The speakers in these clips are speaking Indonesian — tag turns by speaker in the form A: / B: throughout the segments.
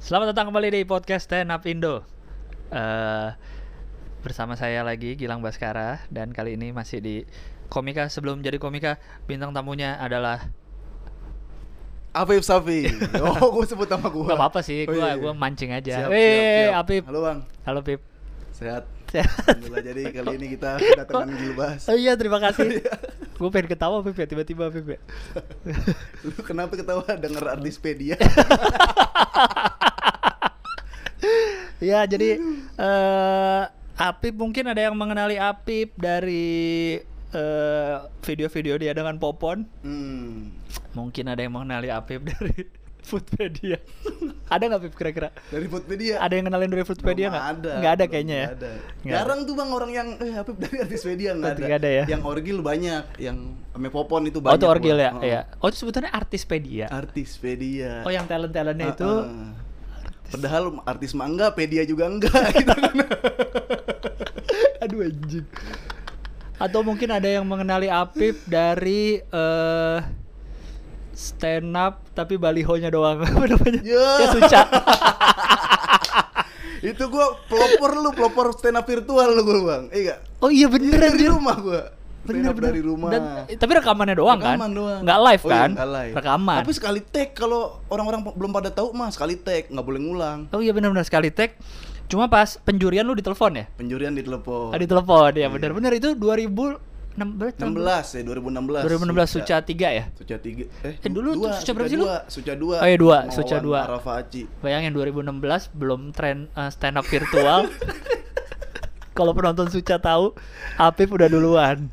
A: Selamat datang kembali di podcast Stand Up Indo. Eh, bersama saya lagi Gilang Baskara dan kali ini masih di komika sebelum jadi komika bintang tamunya adalah
B: Afif Safi. Oh, gue sebut nama gue.
A: nggak apa-apa sih, gue gua mancing aja.
B: Oh, iya, Siap,
A: Wih,
B: siap, siap.
A: Apip.
B: Halo bang,
A: Halo Pip.
B: sehat.
A: Sehat.
B: Alhamdulillah jadi kali ini kita kedatangan Gilbas.
A: Oh iya, terima kasih. gue pengen ketawa Pip ya, tiba-tiba Pip ya.
B: Lu kenapa ketawa denger Artispedia?
A: Ya, jadi eh Apip mungkin ada yang mengenali Apip dari eh, video-video dia dengan Popon.
B: Hmm.
A: Mungkin ada yang mengenali Apip dari Foodpedia. ada nggak Apip kira-kira?
B: Dari Foodpedia.
A: Ada yang kenalin dari Foodpedia
B: Belum
A: nggak?
B: Ada.
A: Nggak ada
B: belum
A: kayaknya ya.
B: ada.
A: Nggak
B: Jarang tuh bang orang yang eh Afif dari Artispedia nggak ada.
A: Nggak ada ya.
B: Yang orgil banyak, yang Ame Popon itu
A: ada. Oh
B: banyak. Ah.
A: itu orgil
B: Bang.
A: ya?
B: Oh.
A: Iya. Oh itu sebutannya Artispedia.
B: Artispedia.
A: Oh yang talent talentnya itu.
B: Heeh. Padahal artis mah enggak, pedia juga enggak gitu kan. Ah,
A: Aduh anjing. Atau mungkin ada yang mengenali Apip dari eh stand up tapi balihonya doang. Apa namanya?
B: Ya.
A: Ya Suca.
B: itu gua pelopor lu, pelopor stand up virtual lu gua, Bang. Iya enggak?
A: Oh iya bener
B: Dari
A: anjir.
B: rumah gua. Stand
A: Bener,
B: up
A: bener.
B: dari rumah.
A: Dan, eh, tapi rekamannya doang
B: Rekaman
A: kan?
B: doang.
A: Nggak live
B: Oh iya,
A: kan?
B: nggak live.
A: Rekaman.
B: Tapi sekali take kalau orang-orang belum pada tahu mah sekali take, nggak boleh ngulang.
A: Oh iya benar-benar sekali tag. Cuma pas penjurian lu ditelepon ya?
B: Penjurian ditelepon.
A: Ah, ditelepon
B: Iya.
A: ya benar-benar itu 2016 tahun
B: 16 ya 2016.
A: 2016 Suca 3 ya.
B: Suca 3. Eh,
A: Eh, dulu tuh
B: dua,
A: Suca berapa sih lu?
B: dua, Suca 2.
A: Oh iya, dua, Suca dua.
B: Rafa Aci.
A: Bayangin 2016 belum tren eh, stand up virtual. Kalau penonton Suca tahu, Apip udah duluan.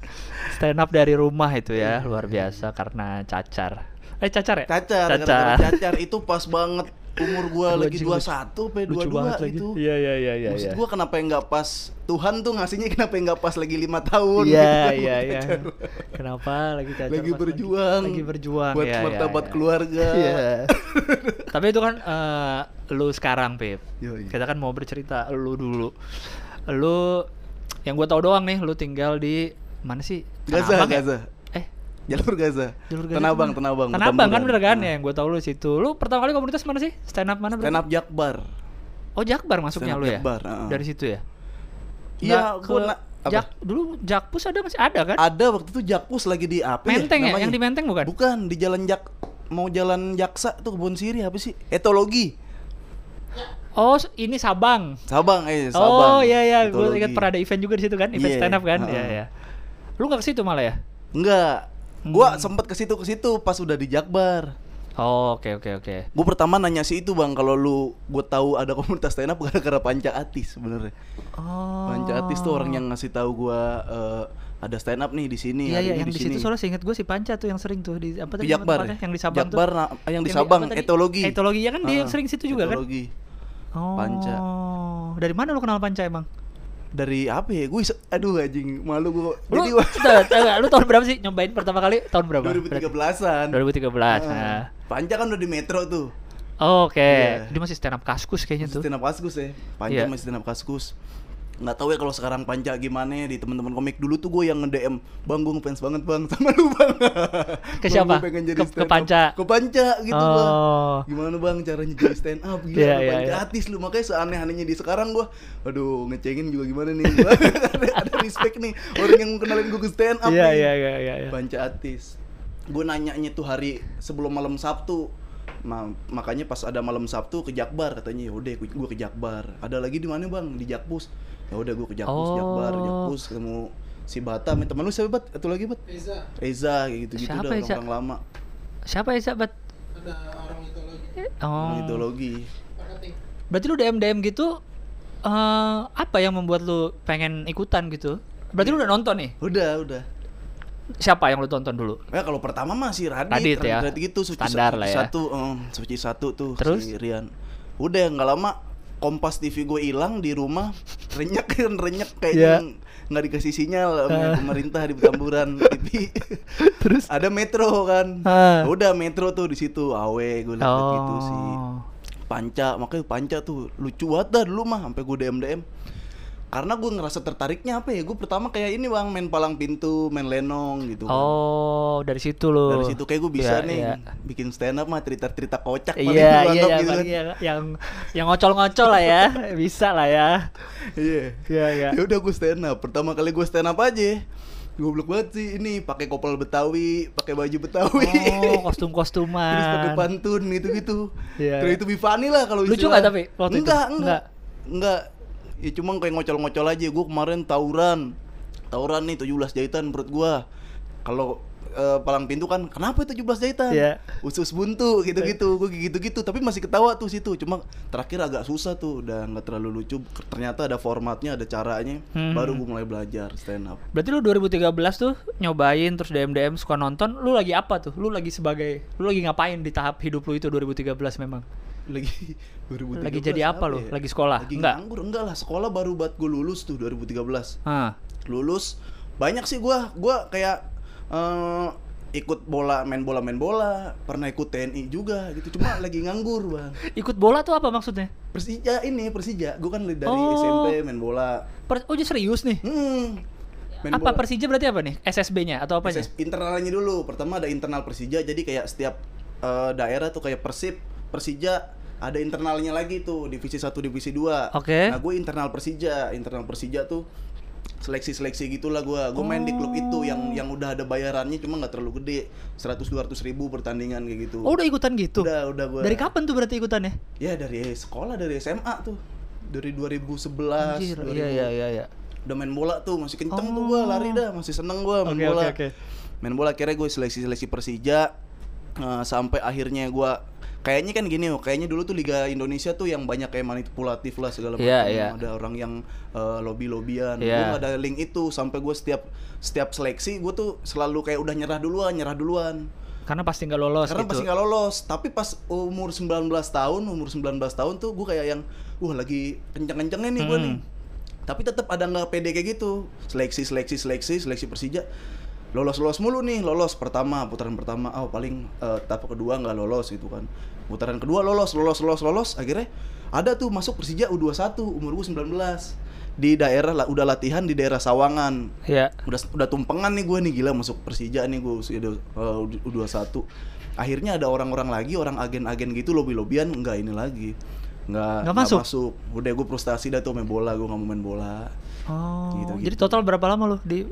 A: Stand up dari rumah itu ya, luar biasa karena cacar. Eh cacar ya?
B: Iya. Cacar,
A: Cacar.
B: gara-gara cacar itu pas banget umur gua
A: Aduh,
B: lagi
A: anjing,
B: 21 sampai
A: Lucu
B: 22
A: banget lagi.
B: itu.
A: Iya iya iya iya.
B: Maksud
A: iya.
B: gua kenapa yang nggak pas Tuhan tuh ngasihnya kenapa yang nggak pas lagi lima tahun?
A: Iya
B: gitu kan,
A: iya
B: buat
A: iya.
B: cacar.
A: Kenapa lagi cacar?
B: Lagi
A: pas
B: berjuang.
A: Lagi berjuang.
B: Buat
A: ya, ya,
B: martabat
A: ya.
B: keluarga.
A: Iya. Tapi itu kan eh, lu sekarang, Pip.
B: Yoi.
A: Kita kan mau bercerita lu dulu. Lu yang gua tahu doang nih, lu tinggal di mana sih? Tanah
B: Gaza,
A: Abang ya?
B: Gaza.
A: Eh,
B: Jalur Gaza.
A: jalur Gaza.
B: Tanah Abang,
A: tuh mana?
B: Tanah Abang.
A: Tanah Abang kan
B: Petamburan.
A: bener kan?
B: Nah.
A: Ya, yang gua tahu lu situ. Lu pertama kali komunitas mana sih? Stand up mana?
B: Stand
A: berarti?
B: up Nah, Jakbar.
A: Oh, Jakbar masuknya
B: Stand
A: lu
B: up
A: ya?
B: Jakbar, heeh.
A: Dari situ ya?
B: Iya,
A: Nggak
B: gua
A: ke-
B: na- apa?
A: Jak, dulu Jakpus ada masih ada kan?
B: Ada waktu itu Jakpus lagi di apa ya
A: Menteng ya?
B: namanya?
A: Yang di Menteng bukan?
B: Bukan, di jalan Jak mau jalan Jaksa tuh kebun siri apa sih? Etologi.
A: Oh, ini Sabang.
B: Sabang eh Sabang.
A: Oh iya iya, gue
B: Etologi.
A: ingat pernah ada event juga di situ kan, event
B: Iya,
A: stand up kan. Iya
B: heeh.
A: iya. Lu nggak ke situ malah ya?
B: Enggak. Gua
A: Hmm.
B: sempet ke situ ke situ pas udah di Jakbar.
A: Oh, oke oke oke.
B: Gue pertama nanya sih itu bang, kalau lu gue tahu ada komunitas stand up gara-gara Panca Atis sebenarnya.
A: Oh.
B: Panca Atis tuh orang yang ngasih tahu gue ada stand up nih di sini.
A: Iya
B: hari
A: iya
B: ini
A: yang di situ
B: sini.
A: soalnya seinget gue si Panca tuh yang sering tuh di apa tadi nama
B: Di Jakbar
A: tempatnya?
B: ya?
A: yang di Sabang
B: Jakbar,
A: tuh.
B: na- eh, yang di
A: di-
B: Sabang,
A: apa tadi?
B: etologi.
A: Etologi ya kan dia yang
B: Ah,
A: sering situ juga kan.
B: etologi.
A: Oh.
B: Panca.
A: Dari mana lu kenal Panca emang?
B: Dari apa ya? Gue aduh anjing malu gue.
A: Lu,
B: Jadi
A: Bentar, bentar, lu tahun berapa sih nyobain pertama kali? Tahun berapa?
B: 2013-an.
A: 2013.
B: Ah,
A: Nah.
B: Panca kan udah di Metro tuh.
A: Oh, Oke,
B: Iya.
A: dia masih stand up kaskus kayaknya tuh.
B: Stand up Kaskus ya. Panca
A: Gitu. Iya.
B: masih stand up Kaskus. Nggak tahu ya kalau sekarang Panca gimana ya di teman-teman komik dulu tuh gue yang nge-DM Bang gue ngefans banget bang sama lu bang
A: Ke
B: Bang,
A: siapa?
B: gue pengen jadi
A: Ke- ke
B: stand up.
A: Panca?
B: Ke Panca gitu bang
A: Oh.
B: Gimana bang caranya jadi stand up Gila
A: Iya,
B: lu
A: iya,
B: Panca
A: iya.
B: atis lu Makanya seaneh-anehnya di sekarang gue Aduh ngecengin juga gimana nih Gua ada, ada respect nih Orang yang kenalin gue ke stand up
A: Iya
B: nih.
A: iya iya iya. iya.
B: Banca Atis. Gue nanyanya tuh hari sebelum malam Sabtu. Ma- makanya pas ada malam Sabtu ke Jakbar katanya ya udah gue ke Jakbar. Ada lagi di mana Bang? Di Jakpus. Ya udah gue ke Jakpus,
A: Oh.
B: Jakbar, Jakpus ketemu si Batam. Temen lu siapa, Bat? Satu lagi, Bat? Eza. Eza kayak gitu-gitu
A: Siapa ya,
B: dah
A: Eza?
B: orang-orang lama.
A: Siapa ya sahabat? Ada
B: Orang
A: orang mitologi. Oh.
B: Mitologi.
A: Berarti lu DM DM gitu eh apa yang membuat lu pengen ikutan gitu? Berarti lu udah nonton nih.
B: Udah, udah.
A: Siapa yang lu tonton dulu?
B: Ya kalau pertama masih Radit,
A: Radit ya.
B: gitu suci
A: Standar
B: suci
A: lah ya.
B: satu, em, suci satu tuh
A: Terus?
B: si Rian. Udah nggak lama Kompas TV gue hilang di rumah, renyek kan renyek
A: Iya. Ah.
B: kayaknya nggak dikasih sinyal sama pemerintah di Petamburan TV.
A: Terus
B: Ada Metro kan,
A: Ah.
B: udah Metro tuh di situ, awe gue liat
A: oh.
B: gitu sih. Panca, makanya Panca tuh lucu banget dah dulu mah sampai gue DM DM. karena gue ngerasa tertariknya apa ya gue pertama kayak ini bang main palang pintu main lenong gitu Bang.
A: Oh, dari situ loh.
B: dari situ kayak gue bisa
A: Iya,
B: nih
A: iya.
B: bikin stand up mah cerita cerita kocak
A: Iya,
B: paling gua
A: iya,
B: anggap
A: iya,
B: gitu
A: paling
B: kan.
A: yang yang yang ngocol-ngocol lah ya, bisa lah ya.
B: iya
A: Iya, iya.
B: ya udah gue stand up pertama kali gue stand up aja goblok banget sih ini pakai kopel betawi pakai baju
A: Oh,
B: betawi terus pakai
A: kostum-kostuman.
B: pantun gitu gitu
A: Iya.
B: terus itu bifani lah kalau
A: Lucu
B: istilah.
A: nggak tapi waktu itu?
B: enggak,
A: Nggak.
B: enggak enggak ya cuma kayak ngocol-ngocol aja gue kemarin tawuran tawuran nih 17 jahitan perut gua kalau eh, palang pintu kan kenapa 17 jahitan
A: Iya.
B: usus buntu gitu-gitu gue gitu-gitu tapi masih ketawa tuh situ cuma terakhir agak susah tuh udah nggak terlalu lucu ternyata ada formatnya ada caranya
A: Hmm.
B: baru gue mulai belajar stand up
A: Berarti lu 2013 tuh nyobain terus DM-DM suka nonton, lu lagi apa tuh? Lu lagi sebagai lu lagi ngapain di tahap hidup lu itu 2013 memang?
B: lagi 2013
A: Lagi jadi apa
B: Iya.
A: lo? Lagi sekolah?
B: ya. lagi
A: Enggak.
B: nganggur enggak lah sekolah baru buat gue lulus tuh 2013
A: Hah.
B: lulus banyak sih gua gua kayak eh, ikut bola main bola main bola pernah ikut TNI juga gitu cuma lagi nganggur bang
A: Ikut bola tuh apa maksudnya?
B: Persija ini Persija gua kan dari
A: Oh.
B: SMP main bola
A: Per oh, dia serius nih.
B: hmm, main
A: apa
B: bola.
A: Persija berarti apa nih? SSB-nya atau apanya?
B: Proses internalnya dulu. Pertama ada internal Persija, jadi kayak setiap eh, daerah tuh kayak Persib, Persija ada internalnya lagi tuh, divisi 1, divisi 2.
A: Oke.
B: Nah, gue internal Persija, internal Persija tuh seleksi-seleksi gitulah gue gue main di klub itu
A: Oh.
B: yang yang udah ada bayarannya cuma nggak terlalu gede 100-200 ribu pertandingan kayak gitu
A: Oh, udah ikutan gitu.
B: udah udah gue
A: Dari kapan tuh berarti ikutannya?
B: ya dari sekolah dari SMA tuh dari 2011
A: Anjir,
B: 2000.
A: iya iya iya iya.
B: udah main bola tuh masih kenceng tuh gue lari dah masih seneng gue main
A: Oke,
B: bola
A: oke, oke.
B: main bola akhirnya gue seleksi seleksi Persija eh, sampai akhirnya gue kayaknya kan gini oh kayaknya dulu tuh Liga Indonesia tuh yang banyak kayak manipulatif lah segala macam
A: Iya, iya.
B: ada orang yang lobby lobbyan
A: Iya.
B: gue gak ada link itu sampai gue setiap setiap seleksi gue tuh selalu kayak udah nyerah duluan nyerah duluan
A: Karena pasti nggak lolos
B: karena
A: gitu.
B: pasti nggak lolos tapi pas umur 19 tahun umur 19 tahun tuh gue kayak yang wah lagi kenceng-kencengnya nih gue
A: Hmm.
B: nih tapi tetap ada nggak pede kayak gitu seleksi seleksi seleksi seleksi Persija lolos lolos mulu nih lolos pertama putaran pertama oh paling eh, tahap kedua nggak lolos gitu kan putaran kedua lolos lolos lolos lolos akhirnya ada tuh masuk Persija U21 umur gue 19 di daerah lah udah latihan di daerah Sawangan
A: Iya.
B: udah udah tumpengan nih gue nih gila masuk Persija nih gue usia dua- eh, u- U21 akhirnya ada orang-orang lagi orang agen-agen gitu lobi-lobian nggak ini lagi nggak
A: Nggak masuk?
B: udah gue frustasi dah tuh main bola gue nggak mau main bola
A: Oh.
B: Gitu-gitu.
A: Jadi total berapa lama lu di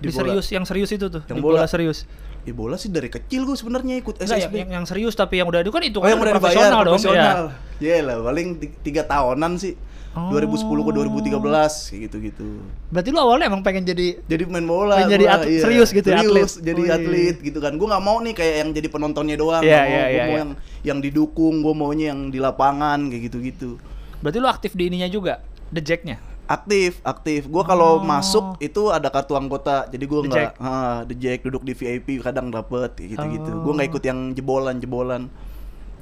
A: di,
B: Gitu, Di bola.
A: serius yang serius itu tuh?
B: Yang
A: di bola,
B: bola.
A: serius.
B: ya bola sih dari kecil gue sebenarnya ikut
A: Enggak, yang,
B: SSB
A: yang, yang serius tapi yang udah itu kan itu
B: oh yang udah dibayar
A: profesional dong.
B: profesional
A: Iya.
B: Yelah, paling ti- tiga tahunan sih
A: Oh.
B: 2010 ke 2013 kayak gitu-gitu
A: Berarti lu awalnya emang pengen jadi
B: jadi main bola
A: Pengen jadi
B: gua, iya.
A: atlet- serius gitu ya, atlet.
B: serius, jadi
A: Wih.
B: atlet gitu kan gue nggak mau nih kayak yang jadi penontonnya doang
A: Iya,
B: Nggak mau,
A: iya,
B: Gua
A: iya,
B: mau
A: iya.
B: yang yang didukung gue maunya yang di lapangan kayak gitu gitu
A: Berarti lu aktif di ininya juga, the jacknya.
B: aktif aktif gue
A: Oh.
B: kalau masuk itu ada kartu anggota jadi gue
A: The
B: nggak ah, the jack duduk di VIP kadang dapet kayak gitu gitu gue
A: Oh.
B: nggak ikut yang jebolan jebolan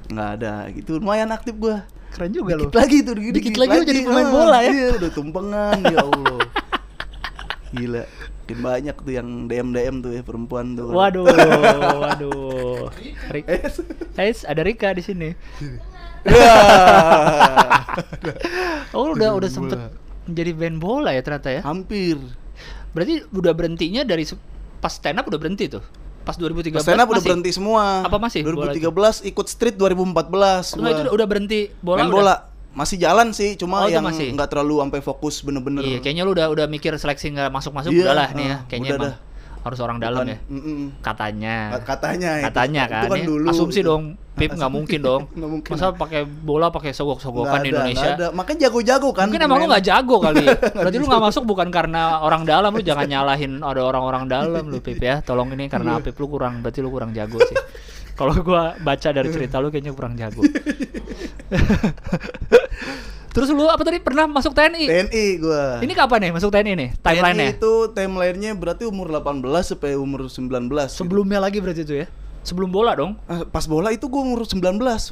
B: nggak ada gitu lumayan aktif gue
A: Keren juga lu.
B: dikit lagi tuh dikit,
A: Dikit lagi lu jadi pemain bola ya.
B: iya, udah tumpengan ya Allah gila makin banyak tuh yang DM DM tuh ya perempuan tuh
A: Waduh, waduh. Ri- Eh, ada Rika di sini.
B: Wah.
A: Oh, udah
B: Iya. Aduh,
A: udah sempet
B: bola.
A: jadi band bola ya ternyata ya.
B: hampir
A: Berarti udah berhentinya dari se- pas stand up udah berhenti tuh. Pas 2013
B: stand up udah
A: masih?
B: berhenti semua
A: Apa masih bola
B: 2013 ikut street
A: Enggak, itu
B: 2014 gua.
A: udah- udah berhenti bola.
B: main
A: udah?
B: bola masih jalan sih
A: Oh,
B: cuma
A: itu
B: yang
A: masih.
B: nggak terlalu sampai fokus bener-bener
A: Iya, kayaknya lu udah udah mikir seleksi nggak masuk-masuk
B: Iya,
A: udah lah nih ya.
B: ah,
A: Kayaknya
B: udah
A: emang
B: dah.
A: harus orang dalam
B: Bukan-
A: ya.
B: Mm-mm.
A: Katanya.
B: Kat- katanya itu-
A: Katanya
B: itu
A: kan.
B: kan
A: ya.
B: dulu
A: Asumsi
B: gitu.
A: dong. Pip nggak mungkin dong.
B: Nggak mungkin.
A: Masa pakai bola pakai sogok-sogokan di
B: Nggak ada,
A: kan Indonesia?
B: nggak ada. makanya jago-jago kan
A: Mungkin emang lu
B: main.
A: gak jago kali ya. Berarti lu gak masuk bukan karena orang dalam Lu jangan nyalahin ada orang-orang dalam lu Pip ya Tolong ini
B: Iya.
A: karena Pip lu kurang Berarti lu kurang jago sih Kalau gua baca dari cerita lu kayaknya kurang jago Terus lu apa tadi pernah masuk TNI?
B: TNI gua
A: Ini kapan nih masuk TNI nih?
B: TNI
A: Timeline-nya?
B: itu timelinenya berarti umur 18 sampai umur 19 gitu.
A: Sebelumnya lagi berarti itu ya? Sebelum bola dong?
B: Ah, pas bola itu gua umur 19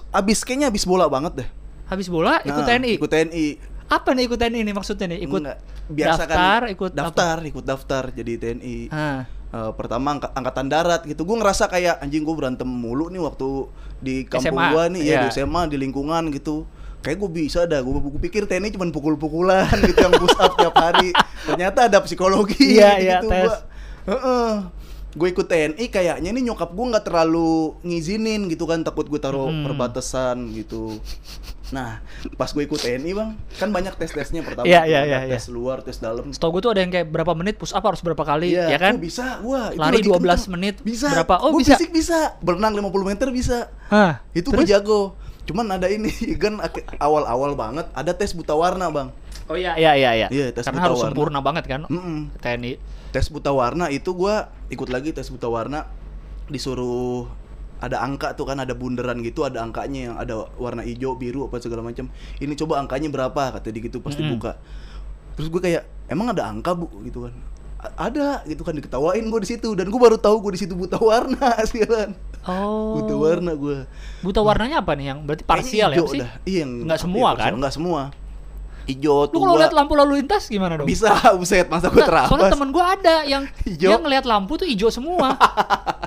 B: abis kayaknya abis bola banget deh
A: Habis bola Ah, ikut
B: Nah,
A: TNI?
B: ikut TNI
A: Apa nih ikut TNI ini maksudnya nih? Ikut
B: Nggak, biasa
A: daftar,
B: kan
A: ikut apa?
B: daftar ikut daftar jadi TNI
A: Ah.
B: Eh, pertama angka- angkatan darat gitu gue ngerasa kayak anjing gue berantem mulu nih waktu di kampung
A: SMA,
B: gua nih ya
A: iya.
B: di SMA di lingkungan gitu kayak gue bisa dah gue gue pikir TNI cuma pukul-pukulan gitu yang push up tiap hari ternyata ada psikologi
A: Iya, iya,
B: gitu
A: tes.
B: gua. Heeh. gue ikut TNI kayaknya nih nyokap gue nggak terlalu ngizinin gitu kan takut gue taruh
A: Hmm.
B: perbatasan gitu nah pas gue ikut TNI bang kan banyak tes tesnya pertama kan,
A: Iya, iya,
B: Ada
A: iya, iya.
B: tes luar tes dalam
A: Setahu gue tuh ada yang kayak berapa menit push up harus berapa kali,
B: Iya,
A: ya kan?
B: oh, bisa gua itu
A: Lari 12
B: lagi kenceng.
A: menit,
B: bisa
A: berapa? Oh,
B: Gua
A: bisa.
B: fisik bisa berenang 50 meter bisa
A: Hah,
B: itu
A: terus?
B: gue jago cuman ada ini kan ak- awal-awal banget ada tes buta warna bang
A: Oh iya iya iya iya.
B: Iya, tes
A: Karena harus
B: buta warna. Hmm.
A: sempurna banget kan
B: Mm-mm.
A: TNI.
B: tes buta warna itu gua ikut lagi tes buta warna disuruh ada angka tuh kan ada bunderan gitu ada angkanya yang ada warna hijau biru apa segala macam ini coba angkanya berapa kata dia gitu pasti
A: Mm-mm.
B: buka terus gue kayak emang ada angka bu gitu kan "A- ada gitu kan diketawain gue di situ dan gue baru tahu gue di situ buta warna sialan
A: Oh.
B: buta warna gue
A: Buta warnanya apa nih yang berarti parsial ya apa sih?
B: iya yang-
A: Nggak semua,
B: parsial.
A: kan?
B: nggak semua hijau
A: Lu kalau
B: tua.
A: lihat lampu lalu lintas gimana dong?
B: bisa buset masa
A: Nah,
B: gue terabas
A: soalnya temen gue ada yang
B: Ijo.
A: dia ngelihat lampu tuh hijau semua.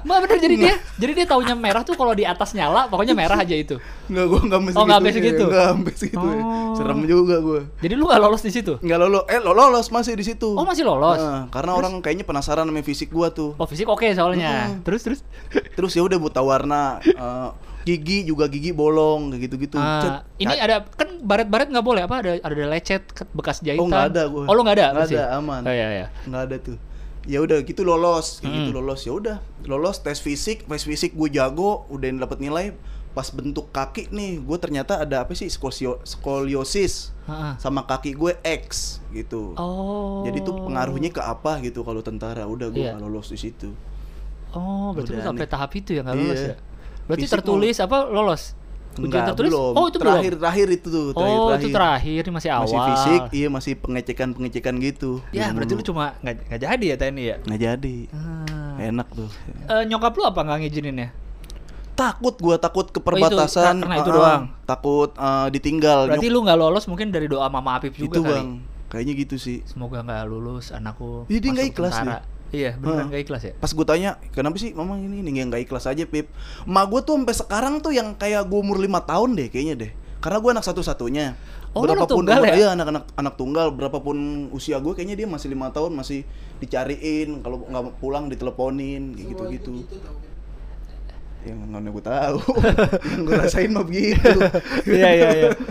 A: Mbak bener jadi dia, jadi dia taunya merah tuh kalau di atas nyala, pokoknya merah aja itu.
B: Enggak, gue enggak sampai
A: Oh, nggak sampai
B: segitunya,
A: segitu?
B: nggak sampai segitu ya.
A: Oh.
B: Serem juga gue.
A: Jadi lu gak lolos di situ.
B: Enggak lolos. Eh, lo lolos masih di situ.
A: Oh masih lolos.
B: Nah, karena orang kayaknya penasaran sama fisik gua tuh.
A: Oh fisik oke soalnya.
B: Mm-mm.
A: Terus terus.
B: Terus ya udah buta warna, eh, gigi juga gigi bolong kayak gitu-gitu.
A: Ah,
B: Gitu. Cet. ya.
A: ini
B: Ca-
A: ada kan baret-baret nggak boleh apa ada ada lecet ke- bekas jahitan.
B: Oh, nggak ada gua.
A: Oh lu nggak ada.
B: Nggak
A: bersih?
B: ada, aman.
A: Oh iya iya.
B: nggak ada tuh. Ya udah gitu lolos, kayak gitu
A: Mm.
B: lolos. Ya udah, lolos tes fisik, tes fisik gue jago, udah dapet nilai pas bentuk kaki nih, gue ternyata ada apa sih skosio- skoliosis
A: Ha-ha.
B: sama kaki gue X gitu.
A: Ah. Oh.
B: Jadi tuh pengaruhnya ke apa gitu kalau tentara udah gue
A: Iya.
B: nggak lolos di situ.
A: Oh, berarti lu
B: Udah
A: sampai
B: nih.
A: tahap itu ya nggak lolos
B: Iya.
A: ya? Berarti
B: Fisik
A: tertulis apa lolos? Ujian
B: Enggak,
A: tertulis?
B: belum.
A: Oh, itu
B: terakhir
A: belum.
B: terakhir itu tuh, terakhir
A: oh,
B: terakhir.
A: itu terakhir ini masih awal.
B: Masih fisik, iya masih pengecekan-pengecekan gitu.
A: Ya,
B: Dulu
A: berarti lu
B: mulu.
A: cuma nggak nggak jadi ya TNI ya?
B: nggak jadi.
A: Ah.
B: Enak tuh.
A: Eh, nyokap lu apa nggak ngizinin ya?
B: Takut gua takut ke
A: Oh, itu,
B: perbatasan.
A: karena itu
B: ah, ah.
A: doang.
B: Takut ah, ditinggal.
A: Berarti
B: Nyok-
A: lu nggak lolos mungkin dari doa Mama Apip juga
B: itu,
A: kali.
B: Bang. Kayaknya gitu sih.
A: Semoga nggak lulus anakku.
B: Ih, dia nggak
A: masuk
B: ikhlas ya?
A: tentara. Iya, beneran
B: Heeh.
A: nggak ikhlas ya?
B: Pas gue tanya, kenapa sih mama ini nih nggak ikhlas aja, Pip? Ma gue tuh sampai sekarang tuh yang kayak gue umur 5 tahun deh kayaknya deh. Karena gue anak satu-satunya.
A: Oh, lu anak tunggal
B: umur-
A: ya?
B: iya, anak-anak anak tunggal berapapun usia gue kayaknya dia masih lima tahun masih dicariin kalau nggak pulang diteleponin kayak gitu-gitu. Yang nggak gue tahu. yang gue rasain mah begitu.
A: Iya, iya, iya.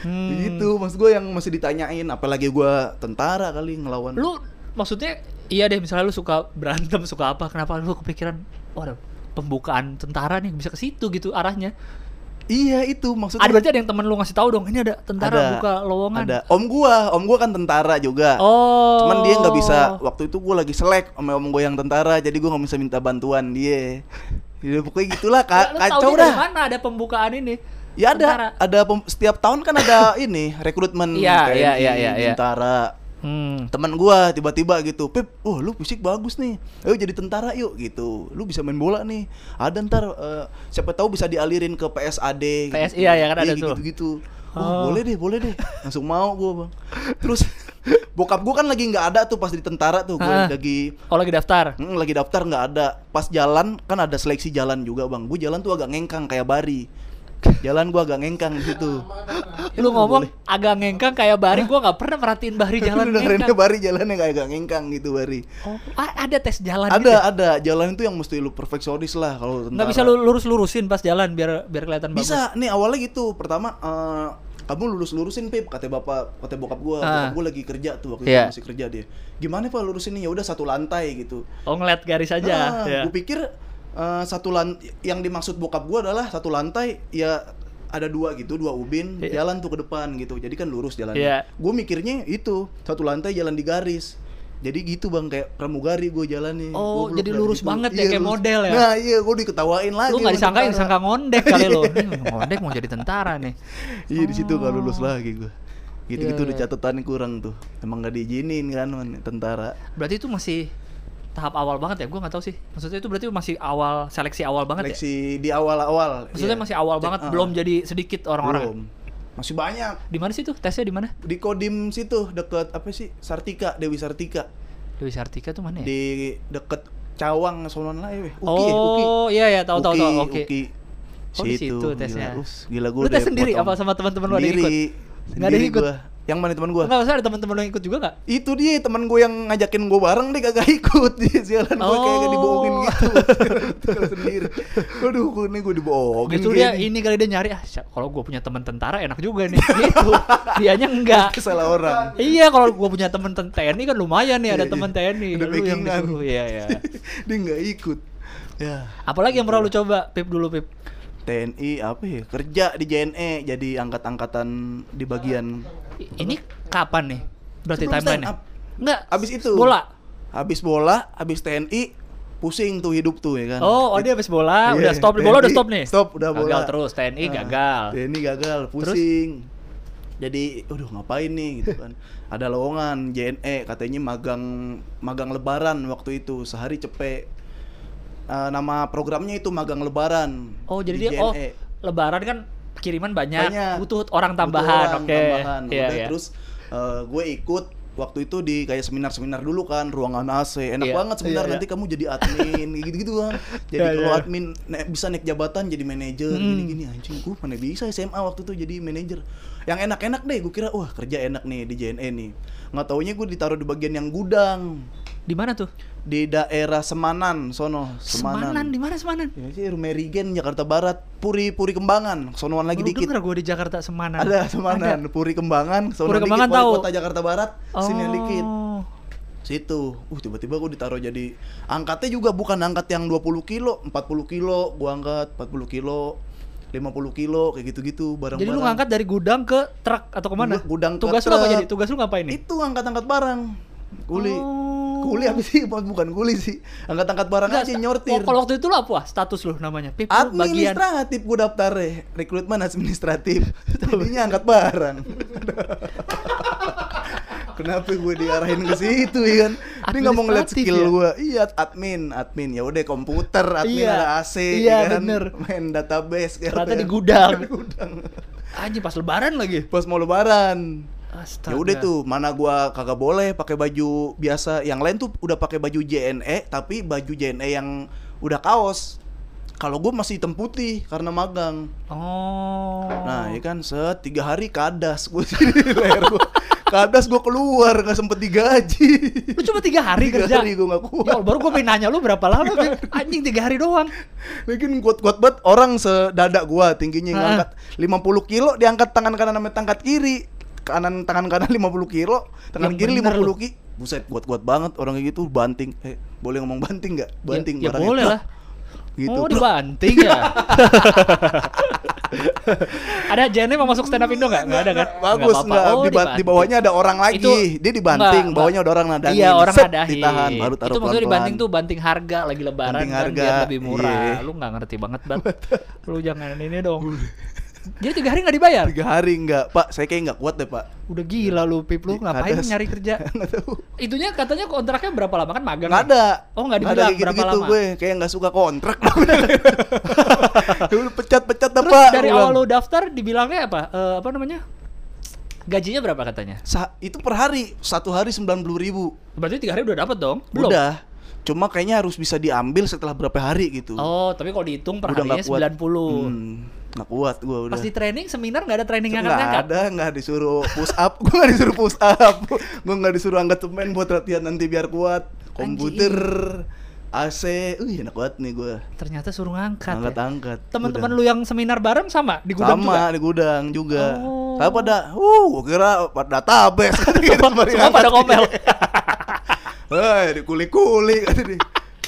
A: Hmm.
B: Begitu, maksud gue yang masih ditanyain apalagi gue tentara kali ngelawan.
A: Lu maksudnya iya deh misalnya lu suka berantem suka apa kenapa lu kepikiran waduh pembukaan tentara nih bisa ke situ gitu arahnya
B: Iya, itu maksudnya.
A: ada berarti ada yang temen lu ngasih tahu dong ini ada tentara
B: Ada,
A: buka lowongan
B: Ada om gua, om gua kan tentara juga.
A: oh
B: Cuman dia nggak bisa waktu itu gua lagi selek sama om gua yang tentara, jadi gua nggak bisa minta bantuan dia. Ya pokoknya gitulah
A: Lah,
B: ka-
A: lu
B: kacau
A: tahunya dari
B: dah.
A: mana ada pembukaan ini
B: Ya ada,
A: Tentara.
B: ada pem- setiap tahun kan ada ini rekrutmen
A: Iya,
B: TNI,
A: iya, iya, iya, iya.
B: tentara.
A: hmm.
B: Teman gua tiba-tiba gitu, Pip, wah lu fisik bagus nih, ayo jadi tentara yuk gitu. Lu bisa main bola nih. Ada ntar eh, siapa tahu bisa dialirin ke PSAD.
A: PS, iya, ya kan ada tuh.
B: gitu." gitu-gitu.
A: Oh.
B: Wah, boleh deh, boleh deh. Langsung mau gua, Bang. Terus bokap gua kan lagi nggak ada tuh pas di tentara tuh,
A: Ah.
B: gua lagi
A: oh lagi daftar
B: Mm, lagi daftar nggak ada. Pas jalan kan ada seleksi jalan juga bang. Gue jalan tuh agak ngengkang kayak Bari. Jalan gue agak ngengkang di situ.
A: lu ngomong agak ngengkang kayak Bari gua nggak pernah merhatiin Bari jalan
B: Jalan dengerin
A: ngengkang
B: Bari jalannya kayak agak ngengkang gitu Bari.
A: oh, a- ada tes jalan
B: Ada
A: gitu.
B: ada jalan itu yang mesti lu perfeksionis lah kalau tentara.
A: nggak bisa lu lurus lurusin pas jalan biar biar kelihatan bagus
B: Bisa nih awalnya gitu. Pertama eh, kamu lulus lurusin pip kata bapak kata bokap gue.
A: Ah.
B: Bokap gue lagi kerja tuh waktu
A: Iya.
B: itu masih kerja dia. Gimana pak lurusin ini ya udah satu lantai gitu.
A: oh ngeliat garis aja
B: Nah,
A: ya.
B: Gue pikir eh, satu lan yang dimaksud bokap gue adalah satu lantai ya ada dua gitu, dua ubin
A: Iya.
B: jalan tuh ke depan gitu. Jadi kan lurus jalannya.
A: Iya.
B: Gue mikirnya itu satu lantai jalan di garis. Jadi gitu bang kayak pramugari gue jalannya.
A: Oh,
B: Goblok
A: jadi
B: dah
A: lurus banget ya, kayak model ya?
B: gitu. Nah iya gue diketawain lagi.
A: lu nggak
B: sama
A: disangka ya,
B: tentara.
A: disangka ngondek kali lu Ini ngondek mau jadi tentara nih
B: Iya di situ gak lulus lagi gue. Gitu-gitu
A: Iya,
B: udah catatan kurang tuh. Emang gak diizinin kan man, tentara.
A: berarti itu masih tahap awal banget ya gua nggak tahu sih maksudnya itu berarti masih awal seleksi awal banget ya
B: Seleksi di awal-awal.
A: maksudnya
B: iya.
A: masih awal banget
B: Ah,
A: belum jadi sedikit
B: belum.
A: orang-orang
B: Masih banyak.
A: di mana sih tuh tesnya di mana
B: di Kodim situ deket apa sih Sartika Dewi Sartika
A: Dewi Sartika tuh mana ya
B: di deket Cawang sonon lah ya weh. Uki ya, Uki
A: oh iya iya tahu tahu
B: Uki,
A: tahu oke
B: Uki.
A: Oh, di situ tesnya.
B: Gila, ups, gila gue
A: Lu tes sendiri apa sama teman-teman lu ada yang ikut? Nggak ada yang ikut?
B: Yang mana teman gue?
A: Enggak usah ada teman-teman lo yang ikut juga nggak?
B: Itu dia teman gue yang ngajakin gue bareng dia kagak ikut dia sialan gue kayak
A: Oh.
B: dibohongin gitu Tinggal sendiri. Waduh, gue nih gue dibohongin.
A: gitu
B: kayaknya.
A: dia ini kali dia nyari ah siap- kalau gue punya teman tentara enak juga nih gitu dianya enggak
B: salah orang.
A: iya kalau gue punya teman ten- TNI kan lumayan nih ada
B: Iya,
A: teman
B: iya.
A: TNI
B: Ada
A: lu yang
B: backingan.
A: disuruh iya iya
B: dia nggak ikut. Ya.
A: apalagi yang pernah lu coba pip dulu pip
B: TNI apa ya? Kerja di JNE jadi angkat-angkatan di bagian
A: I- ini kapan nih berarti
B: Sebelum
A: timeline
B: stand up.
A: enggak
B: Abis itu.
A: bola
B: habis bola, habis TNI pusing tuh hidup tuh ya kan.
A: oh, oh
B: Di-
A: dia habis bola
B: Iya,
A: udah stop bola
B: TNI
A: udah stop nih
B: Stop udah bola.
A: gagal terus TNI
B: Ah,
A: gagal
B: TNI gagal, pusing. Jadi, aduh ngapain nih gitu kan. Ada lowongan JNE katanya magang magang lebaran waktu itu sehari cepet. Eh, nama programnya itu magang lebaran.
A: oh jadi
B: di E.
A: dia oh
B: JNE.
A: lebaran kan kiriman banyak,
B: Banyak.
A: butuh orang
B: Butuh
A: tambahan
B: orang
A: oke
B: tambahan.
A: iya
B: Udah,
A: iya
B: Terus eh, gue ikut waktu itu di kayak seminar-seminar dulu kan ruangan AC enak
A: Iya.
B: banget seminar
A: Iya, iya.
B: nanti kamu jadi admin gitu-gitu kan jadi
A: Iya,
B: kalau
A: iya.
B: admin naik- bisa naik jabatan jadi manajer
A: Hmm.
B: gini-gini anjing gue mana bisa SMA waktu itu jadi manajer yang enak-enak deh gue kira wah kerja enak nih di JNE nih nggak taunya gue ditaruh di bagian yang gudang
A: di mana tuh
B: di daerah Semanan sono
A: Semanan, di mana Semanan
B: ya sih Rumerigen Jakarta Barat Puri Puri Kembangan sonoan lagi
A: Lu
B: dikit
A: denger gue di Jakarta Semanan.
B: ada Semanan, Puri Kembangan, Sono
A: Puri
B: dikit,
A: Kembangan
B: wali
A: tahu.
B: Kota Jakarta Barat,
A: Oh.
B: sini dikit. Situ. Uh, tiba-tiba gue ditaruh jadi angkatnya juga bukan angkat yang 20 kilo, 40 kilo, gua angkat 40 kilo, 50 kilo kayak gitu-gitu barang-barang.
A: Jadi lu ngangkat dari gudang ke truk atau kemana?
B: Gua- gudang ke
A: Tugas lu apa
B: truk.
A: jadi? Tugas lu ngapain nih?
B: Itu angkat-angkat barang. Kuli.
A: Oh.
B: Kuli apa sih? Bukan kuli sih. Angkat-angkat barang
A: Enggak,
B: aja
A: sta-
B: nyortir.
A: oh, Kalau waktu itu lu apa? Status lu namanya? Pip, lu bagian.
B: Administratif gue daftar Rekrutmen administratif Jadinya angkat barang Kenapa gue diarahin ke situ ya kan Dia nggak mau ngeliat
A: Administratif
B: skill
A: ya?
B: gue Iya admin Admin ya udah komputer Admin
A: Iya.
B: ada AC
A: Iya,
B: ya kan?
A: bener.
B: Main database kayak
A: Ternyata
B: apa
A: di gudang.
B: Di gudang.
A: Anjing pas lebaran lagi.
B: Pas mau lebaran
A: Astaga.
B: Ya udah tuh, mana gua kagak boleh pakai baju biasa. Yang lain tuh udah pakai baju JNE, tapi baju JNE yang udah kaos. Kalau gua masih hitam putih karena magang.
A: Oh.
B: Nah, ya kan set tiga hari kadas gua sini di leher gua. Kadas gua keluar nggak sempet digaji.
A: Lu cuma tiga hari
B: Tiga
A: kerja.
B: hari gua nggak kuat.
A: Ya Allah, baru gue pengen nanya lu berapa lama Pip? Anjing tiga hari doang Ya,
B: Lagian kuat-kuat banget orang sedada gua
A: Ah.
B: tingginya ngangkat 50 kilo diangkat tangan kanan sama tangkat kiri. Kanan tangan kanan 50 kilo, tangan
A: Yang
B: kiri
A: Ya, bener
B: 50
A: lu.
B: ki. Buset, kuat-kuat banget orang kayak gitu banting. Eh, boleh ngomong banting nggak?
A: Ya,
B: Banting
A: ya
B: barangnya.
A: boleh lah
B: Gitu.
A: Oh dibanting ya Ada Jene mau masuk stand up Indo nggak? Nggak ada kan?
B: Bagus
A: apa-apa.
B: nggak?
A: Oh,
B: di, ba- di
A: dibanting.
B: bawahnya ada orang lagi.
A: Itu-
B: Dia dibanting,
A: Nggak,
B: bawahnya ada orang nadangin.
A: Iya orang
B: Set,
A: nadahin
B: Ditahan, baru taruh
A: Itu maksudnya
B: pelan-pelan.
A: dibanting tuh banting harga lagi lebaran
B: Banting
A: kan,
B: harga,
A: biar lebih murah
B: iya.
A: Lu nggak ngerti banget Bat Lu jangan ini dong Jadi tiga hari nggak dibayar?
B: Tiga hari nggak, Pak. Saya kayak nggak kuat deh, Pak.
A: Udah gila lu Pip Lu
B: Di-
A: ngapain
B: atas.
A: nyari kerja?
B: Nggak tahu.
A: Itunya katanya kontraknya berapa lama kan magang
B: Nggak
A: ya?
B: ada.
A: Oh, nggak
B: ada
A: dibilang
B: kayak
A: berapa
B: gitu-gitu
A: lama?
B: gue. Kayak nggak suka kontrak. Dulu pecat-pecat dah,
A: Terus
B: Pak.
A: dari
B: Gue
A: awal lu
B: bilang.
A: daftar dibilangnya apa? Eh, apa namanya? Gajinya berapa katanya?
B: Sa- itu per hari, satu hari 90.000 ribu.
A: Berarti tiga hari udah dapet dong? Belum?
B: Udah. Cuma kayaknya harus bisa diambil setelah berapa hari gitu.
A: Oh, tapi kalau dihitung per ya
B: Udah
A: harinya
B: nggak kuat.
A: 90
B: Hmm, nggak kuat gue udah.
A: Pas di training, seminar nggak ada training yang
B: nggak
A: angkat-angkat?
B: ada nggak disuruh push up gue nggak disuruh push up gue nggak disuruh angkat semen buat latihan nanti biar kuat komputer AC uh enak banget nih gue
A: Ternyata suruh ngangkat
B: angkat
A: ya?
B: angkat
A: Teman-teman lu yang seminar bareng sama di gudang
B: sama
A: juga?
B: di gudang juga
A: Oh.
B: tapi pada uh gue kira pada database Kita
A: Semua-
B: mari
A: semua
B: angkat.
A: pada ngomel.
B: Iya. Hei, dikuli kuli kata dia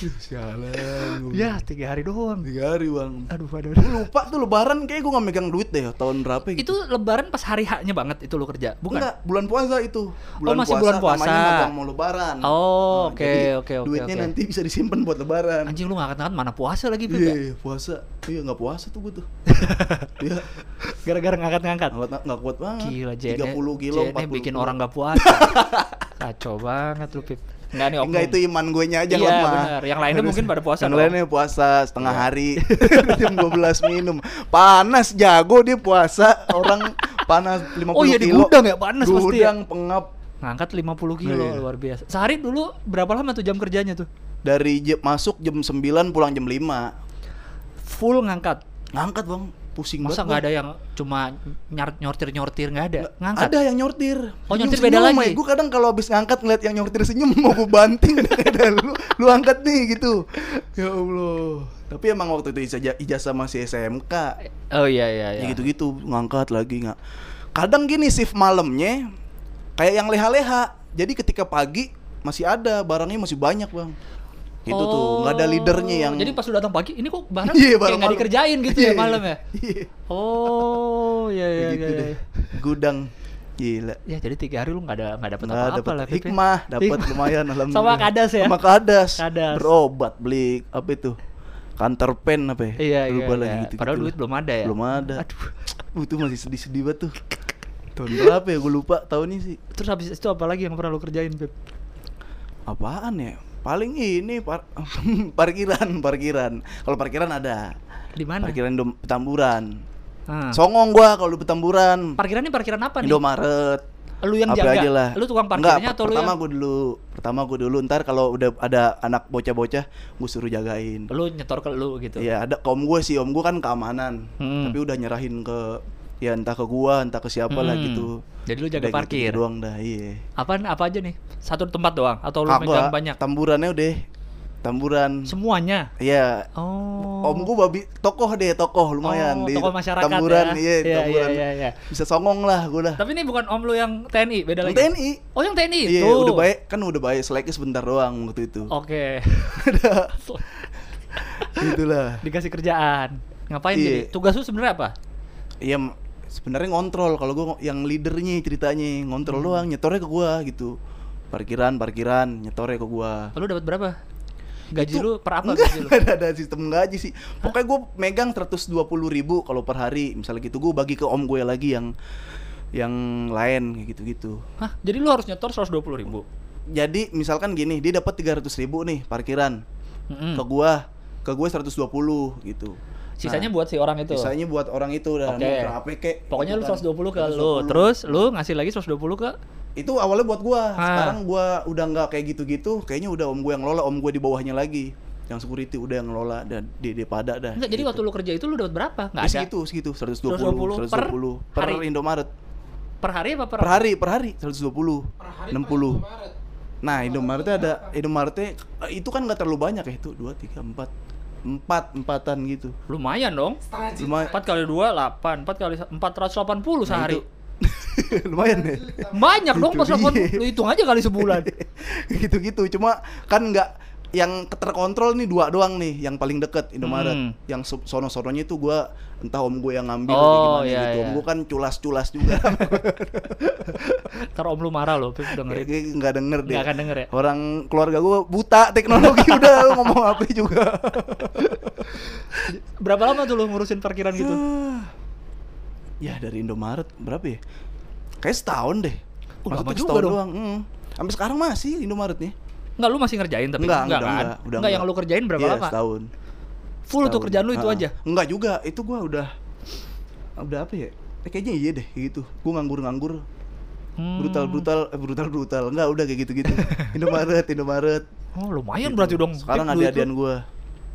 B: Duh, sialan gua.
A: ya, tiga hari doang.
B: tiga hari bang
A: Aduh, aduh.
B: Gua lupa tuh lebaran kayak gue nggak megang duit deh tahun berapa gitu
A: Itu lebaran pas hari haknya banget itu lu kerja, bukan? Oh,
B: Enggak, bulan puasa itu.
A: masih bulan puasa.
B: Namanya magang mau lebaran.
A: Oh,
B: Nah,
A: oke,
B: jadi
A: oke, oke,
B: Duitnya
A: oke.
B: nanti bisa disimpan buat lebaran.
A: Anjing lu ngangkat-ngangkat mana puasa lagi, Pip, ya?
B: Iya, puasa. Iya, nggak puasa tuh gue tuh. Iya,
A: Gara-gara ngangkat-ngangkat.
B: nggak nggak kuat banget.
A: Gila, E. Jene.
B: 30 kilo,
A: Jene
B: 40
A: bikin
B: kilo.
A: orang nggak puasa. Kacau banget lu, Pip. Enggak nih, oknum.
B: Enggak itu iman gue nya aja
A: Iya,
B: lemah.
A: benar. Yang lainnya
B: Harus-
A: mungkin pada puasa Iya.
B: Yang
A: dong.
B: lainnya puasa setengah hari. Jam 12 minum. Panas jago dia puasa. Orang panas 50
A: Oh iya, di
B: kilo.
A: gudang ya, panas pasti ya.
B: Gudang pengap
A: Ngangkat 50 kilo,
B: Iya.
A: luar biasa. Sehari dulu berapa lama tuh jam kerjanya tuh?
B: dari je- masuk jam 9 pulang jam 5.
A: Full ngangkat.
B: Ngangkat bang, pusing
A: Masa nggak
B: banget.
A: ada yang cuma nyar- nyortir-nyortir nggak ada?
B: Bang.
A: Ngangkat.
B: Ada yang nyortir.
A: Oh, nyortir beda lagi.
B: Gue kadang kalau habis ngangkat ngeliat yang nyortir senyum mau gue banting. Ada, lu, lu angkat nih gitu. Ya Allah. Tapi emang waktu itu ijazah, ijazah masih SMK.
A: Oh iya iya iya.
B: ya gitu-gitu ngangkat lagi nggak kadang gini shift malamnya kayak yang leha-leha jadi ketika pagi masih ada barangnya masih banyak bang gitu tuh nggak ada
A: Oh,
B: leadernya yang
A: Jadi pas lu datang pagi, ini kok barang
B: Iya,
A: kayak
B: barang
A: nggak
B: malam.
A: dikerjain gitu
B: Iya,
A: ya malam ya?
B: iya
A: Oh, iya iya
B: Begitu
A: iya.
B: gitu deh
A: iya.
B: gudang gila
A: Ya jadi tiga hari lu nggak ada nggak dapet
B: Nggak
A: apa-apa
B: dapet
A: lah. Pip, ya.
B: hikmah dapat
A: Hikmah.
B: lumayan alhamdulillah
A: Sama kadas ya?
B: sama kadas,
A: Kadas.
B: berobat beli apa itu kantor pen apa ya
A: Iya iya.
B: Lupa
A: iya.
B: lagi gitu
A: Padang duit belum ada ya.
B: belum ada
A: Aduh.
B: aduh itu masih sedih-sedih banget tuh tahun berapa ya gue lupa tahunnya sih
A: Terus habis itu apa lagi yang pernah lu kerjain, Pip?
B: Apaan ya? Paling ini par- parkiran, parkiran. Kalau parkiran ada.
A: Di mana?
B: Parkiran Indom Petamburan.
A: Ah.
B: Songong gua kalau di Petamburan.
A: Parkirannya parkiran apa nih?
B: Indomaret.
A: Lu yang
B: Apa
A: jaga?
B: aja lah.
A: Lu tukang
B: Enggak,
A: parkirnya atau lu
B: pertama
A: yang
B: gua dulu. Pertama gua dulu ntar kalau udah ada anak bocah-bocah gua suruh jagain.
A: lu nyetor ke lu Oh, gitu?
B: Iya, ada om gue sih, om gue kan keamanan.
A: Hmm.
B: Tapi udah nyerahin ke ya entah ke gua, entah ke siapa lah
A: Hmm.
B: gitu.
A: Jadi lu jaga
B: Udah gitu
A: parkir.
B: doang dah, iya.
A: Apaan apa aja nih? Satu tempat doang atau Oh, lu megang
B: Kagak,
A: banyak?
B: Tamburannya udah. Tamburan.
A: Semuanya.
B: Iya,
A: Oh.
B: Hmm. Om gua babi tokoh deh, tokoh lumayan
A: Oh,
B: di
A: tokoh masyarakat
B: tamburan,
A: ya.
B: iya,
A: Iya,
B: tamburan.
A: iya, iya, iya.
B: Bisa songong lah gua lah.
A: Tapi ini bukan om lu yang TNI, beda lagi.
B: TNI.
A: Oh, yang TNI
B: Iya,
A: itu. Oh,
B: udah baik, kan udah baik seleknya sebentar doang waktu itu.
A: Oke.
B: Itulah.
A: Dikasih kerjaan. Ngapain
B: Iya.
A: jadi? Tugas lu sebenarnya apa?
B: Iya, m- sebenarnya ngontrol kalau gua ngo- yang leadernya ceritanya ngontrol doang, nyetornya ke gua gitu. Parkiran, parkiran, nyetornya ke gua.
A: Lu dapat berapa? Gaji
B: Itu-
A: lu per apa
B: Enggak,
A: gaji lu?
B: ada, ada sistem gaji sih. Pokoknya gua megang 120 ribu kalau per hari, misalnya gitu. Gua bagi ke om gue lagi yang yang lain kayak gitu-gitu.
A: Hah, jadi lu harus nyetor 120 ribu?
B: jadi misalkan gini dia dapat 300 ribu nih parkiran
A: Mm-mm.
B: ke gua ke gua 120 gitu
A: Sisanya buat si orang itu.
B: sisanya buat orang itu dan
A: Oke.
B: motor HP kek
A: Pokoknya lu
B: gitu kan.
A: 120 ke lu,
B: 120.
A: terus lu ngasih lagi 120 ke
B: itu awalnya buat gua
A: Ah.
B: sekarang gua udah nggak kayak gitu-gitu kayaknya udah om gua yang ngelola om gua di bawahnya lagi yang security udah yang ngelola dan dede pada dah Gitu.
A: Enggak, jadi waktu lu kerja itu lu dapat berapa? gitu. Enggak
B: Di
A: ada.
B: segitu segitu 120
A: 120
B: 120,
A: per
B: per,
A: hari.
B: Indomaret
A: Per hari apa per,
B: per hari per hari 120 60 Nah, Indomaretnya ada Indomaretnya eh, itu kan nggak terlalu banyak ya itu dua tiga empat empat empatan gitu.
A: Lumayan dong.
B: Lumayan.
A: 4 kali 2 8, 4 kali 480
B: Nah,
A: sehari.
B: itu- Lumayan ya. deh.
A: Banyak dong
B: Itu
A: 480.
B: dia.
A: Lu hitung aja kali sebulan.
B: Gitu-gitu. Cuma kan nggak yang terkontrol nih dua doang nih yang paling deket Indomaret.
A: Hmm.
B: Yang so- sono-sononya itu gua entah om gue yang ngambil
A: Oh,
B: gimana
A: iya,
B: gitu. Om
A: iya.
B: gue kan culas-culas juga.
A: Ntar om lu marah lo, Pip dengerin.
B: Kayaknya nggak denger deh.
A: Nggak akan denger ya?
B: Orang keluarga gue buta teknologi udah lu ngomong apa juga.
A: Berapa lama tuh lu ngurusin parkiran gitu?
B: ya dari Indomaret berapa ya? Kayak setahun deh.
A: Oh,
B: Maksudnya
A: lama juga
B: setahun
A: dong.
B: doang. mm. Sampai sekarang masih Indomaretnya.
A: Enggak, lu masih ngerjain tapi
B: enggak,
A: enggak
B: enggak,
A: kan?
B: enggak, udah
A: yang lu kerjain berapa
B: Iya,
A: lama?
B: Setahun.
A: Full tuh
B: Setahun.
A: kerjaan lu itu
B: Ha-ha.
A: aja.
B: Enggak juga, itu gua udah udah apa ya? Eh, kayaknya iya deh kayak gitu. Gua nganggur-nganggur.
A: Hmm.
B: Brutal-brutal, eh, brutal-brutal. Enggak, udah kayak gitu-gitu. Indomaret, Indomaret.
A: Oh, lumayan berarti dong.
B: Gitu. Sekarang
A: Pip,
B: ada
A: duit lu-
B: adian gua.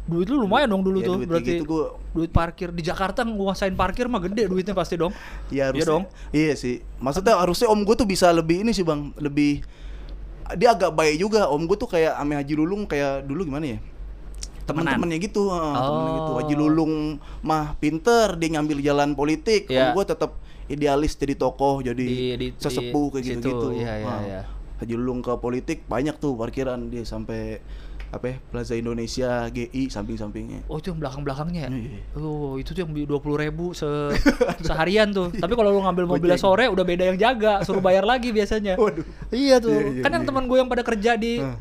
A: Duit lu lumayan dong dulu
B: Ya,
A: tuh
B: duit
A: berarti.
B: gitu gua-
A: Duit parkir di Jakarta nguasain parkir mah gede duitnya pasti dong.
B: Iya harusnya.
A: dong.
B: Iya sih. Maksudnya harusnya om gue tuh bisa lebih ini sih bang, lebih dia agak baik juga. Om gue tuh kayak Ame Haji Lulung kayak dulu gimana ya?
A: Temenan.
B: Temen-temennya gitu, heeh, temennya gitu.
A: Oh.
B: Haji Lulung mah pinter, dia ngambil jalan politik.
A: Iya.
B: Om gue tetap idealis jadi tokoh, jadi
A: Di- di-
B: sesepuh kayak
A: di situ,
B: gitu-gitu.
A: iya, iya,
B: Ah,
A: iya.
B: Haji Lulung ke politik banyak tuh parkiran dia sampai apa ya, Plaza Indonesia, GI samping-sampingnya.
A: Oh itu yang belakang-belakangnya ya?
B: Iya, iya.
A: Oh itu tuh yang dua puluh ribu se seharian tuh. Tapi kalau lu ngambil mobilnya sore udah beda yang jaga, suruh bayar lagi biasanya.
B: Waduh.
A: Iya tuh.
B: Iya, iya,
A: kan yang
B: iya.
A: teman gue yang pada kerja di
B: Hah.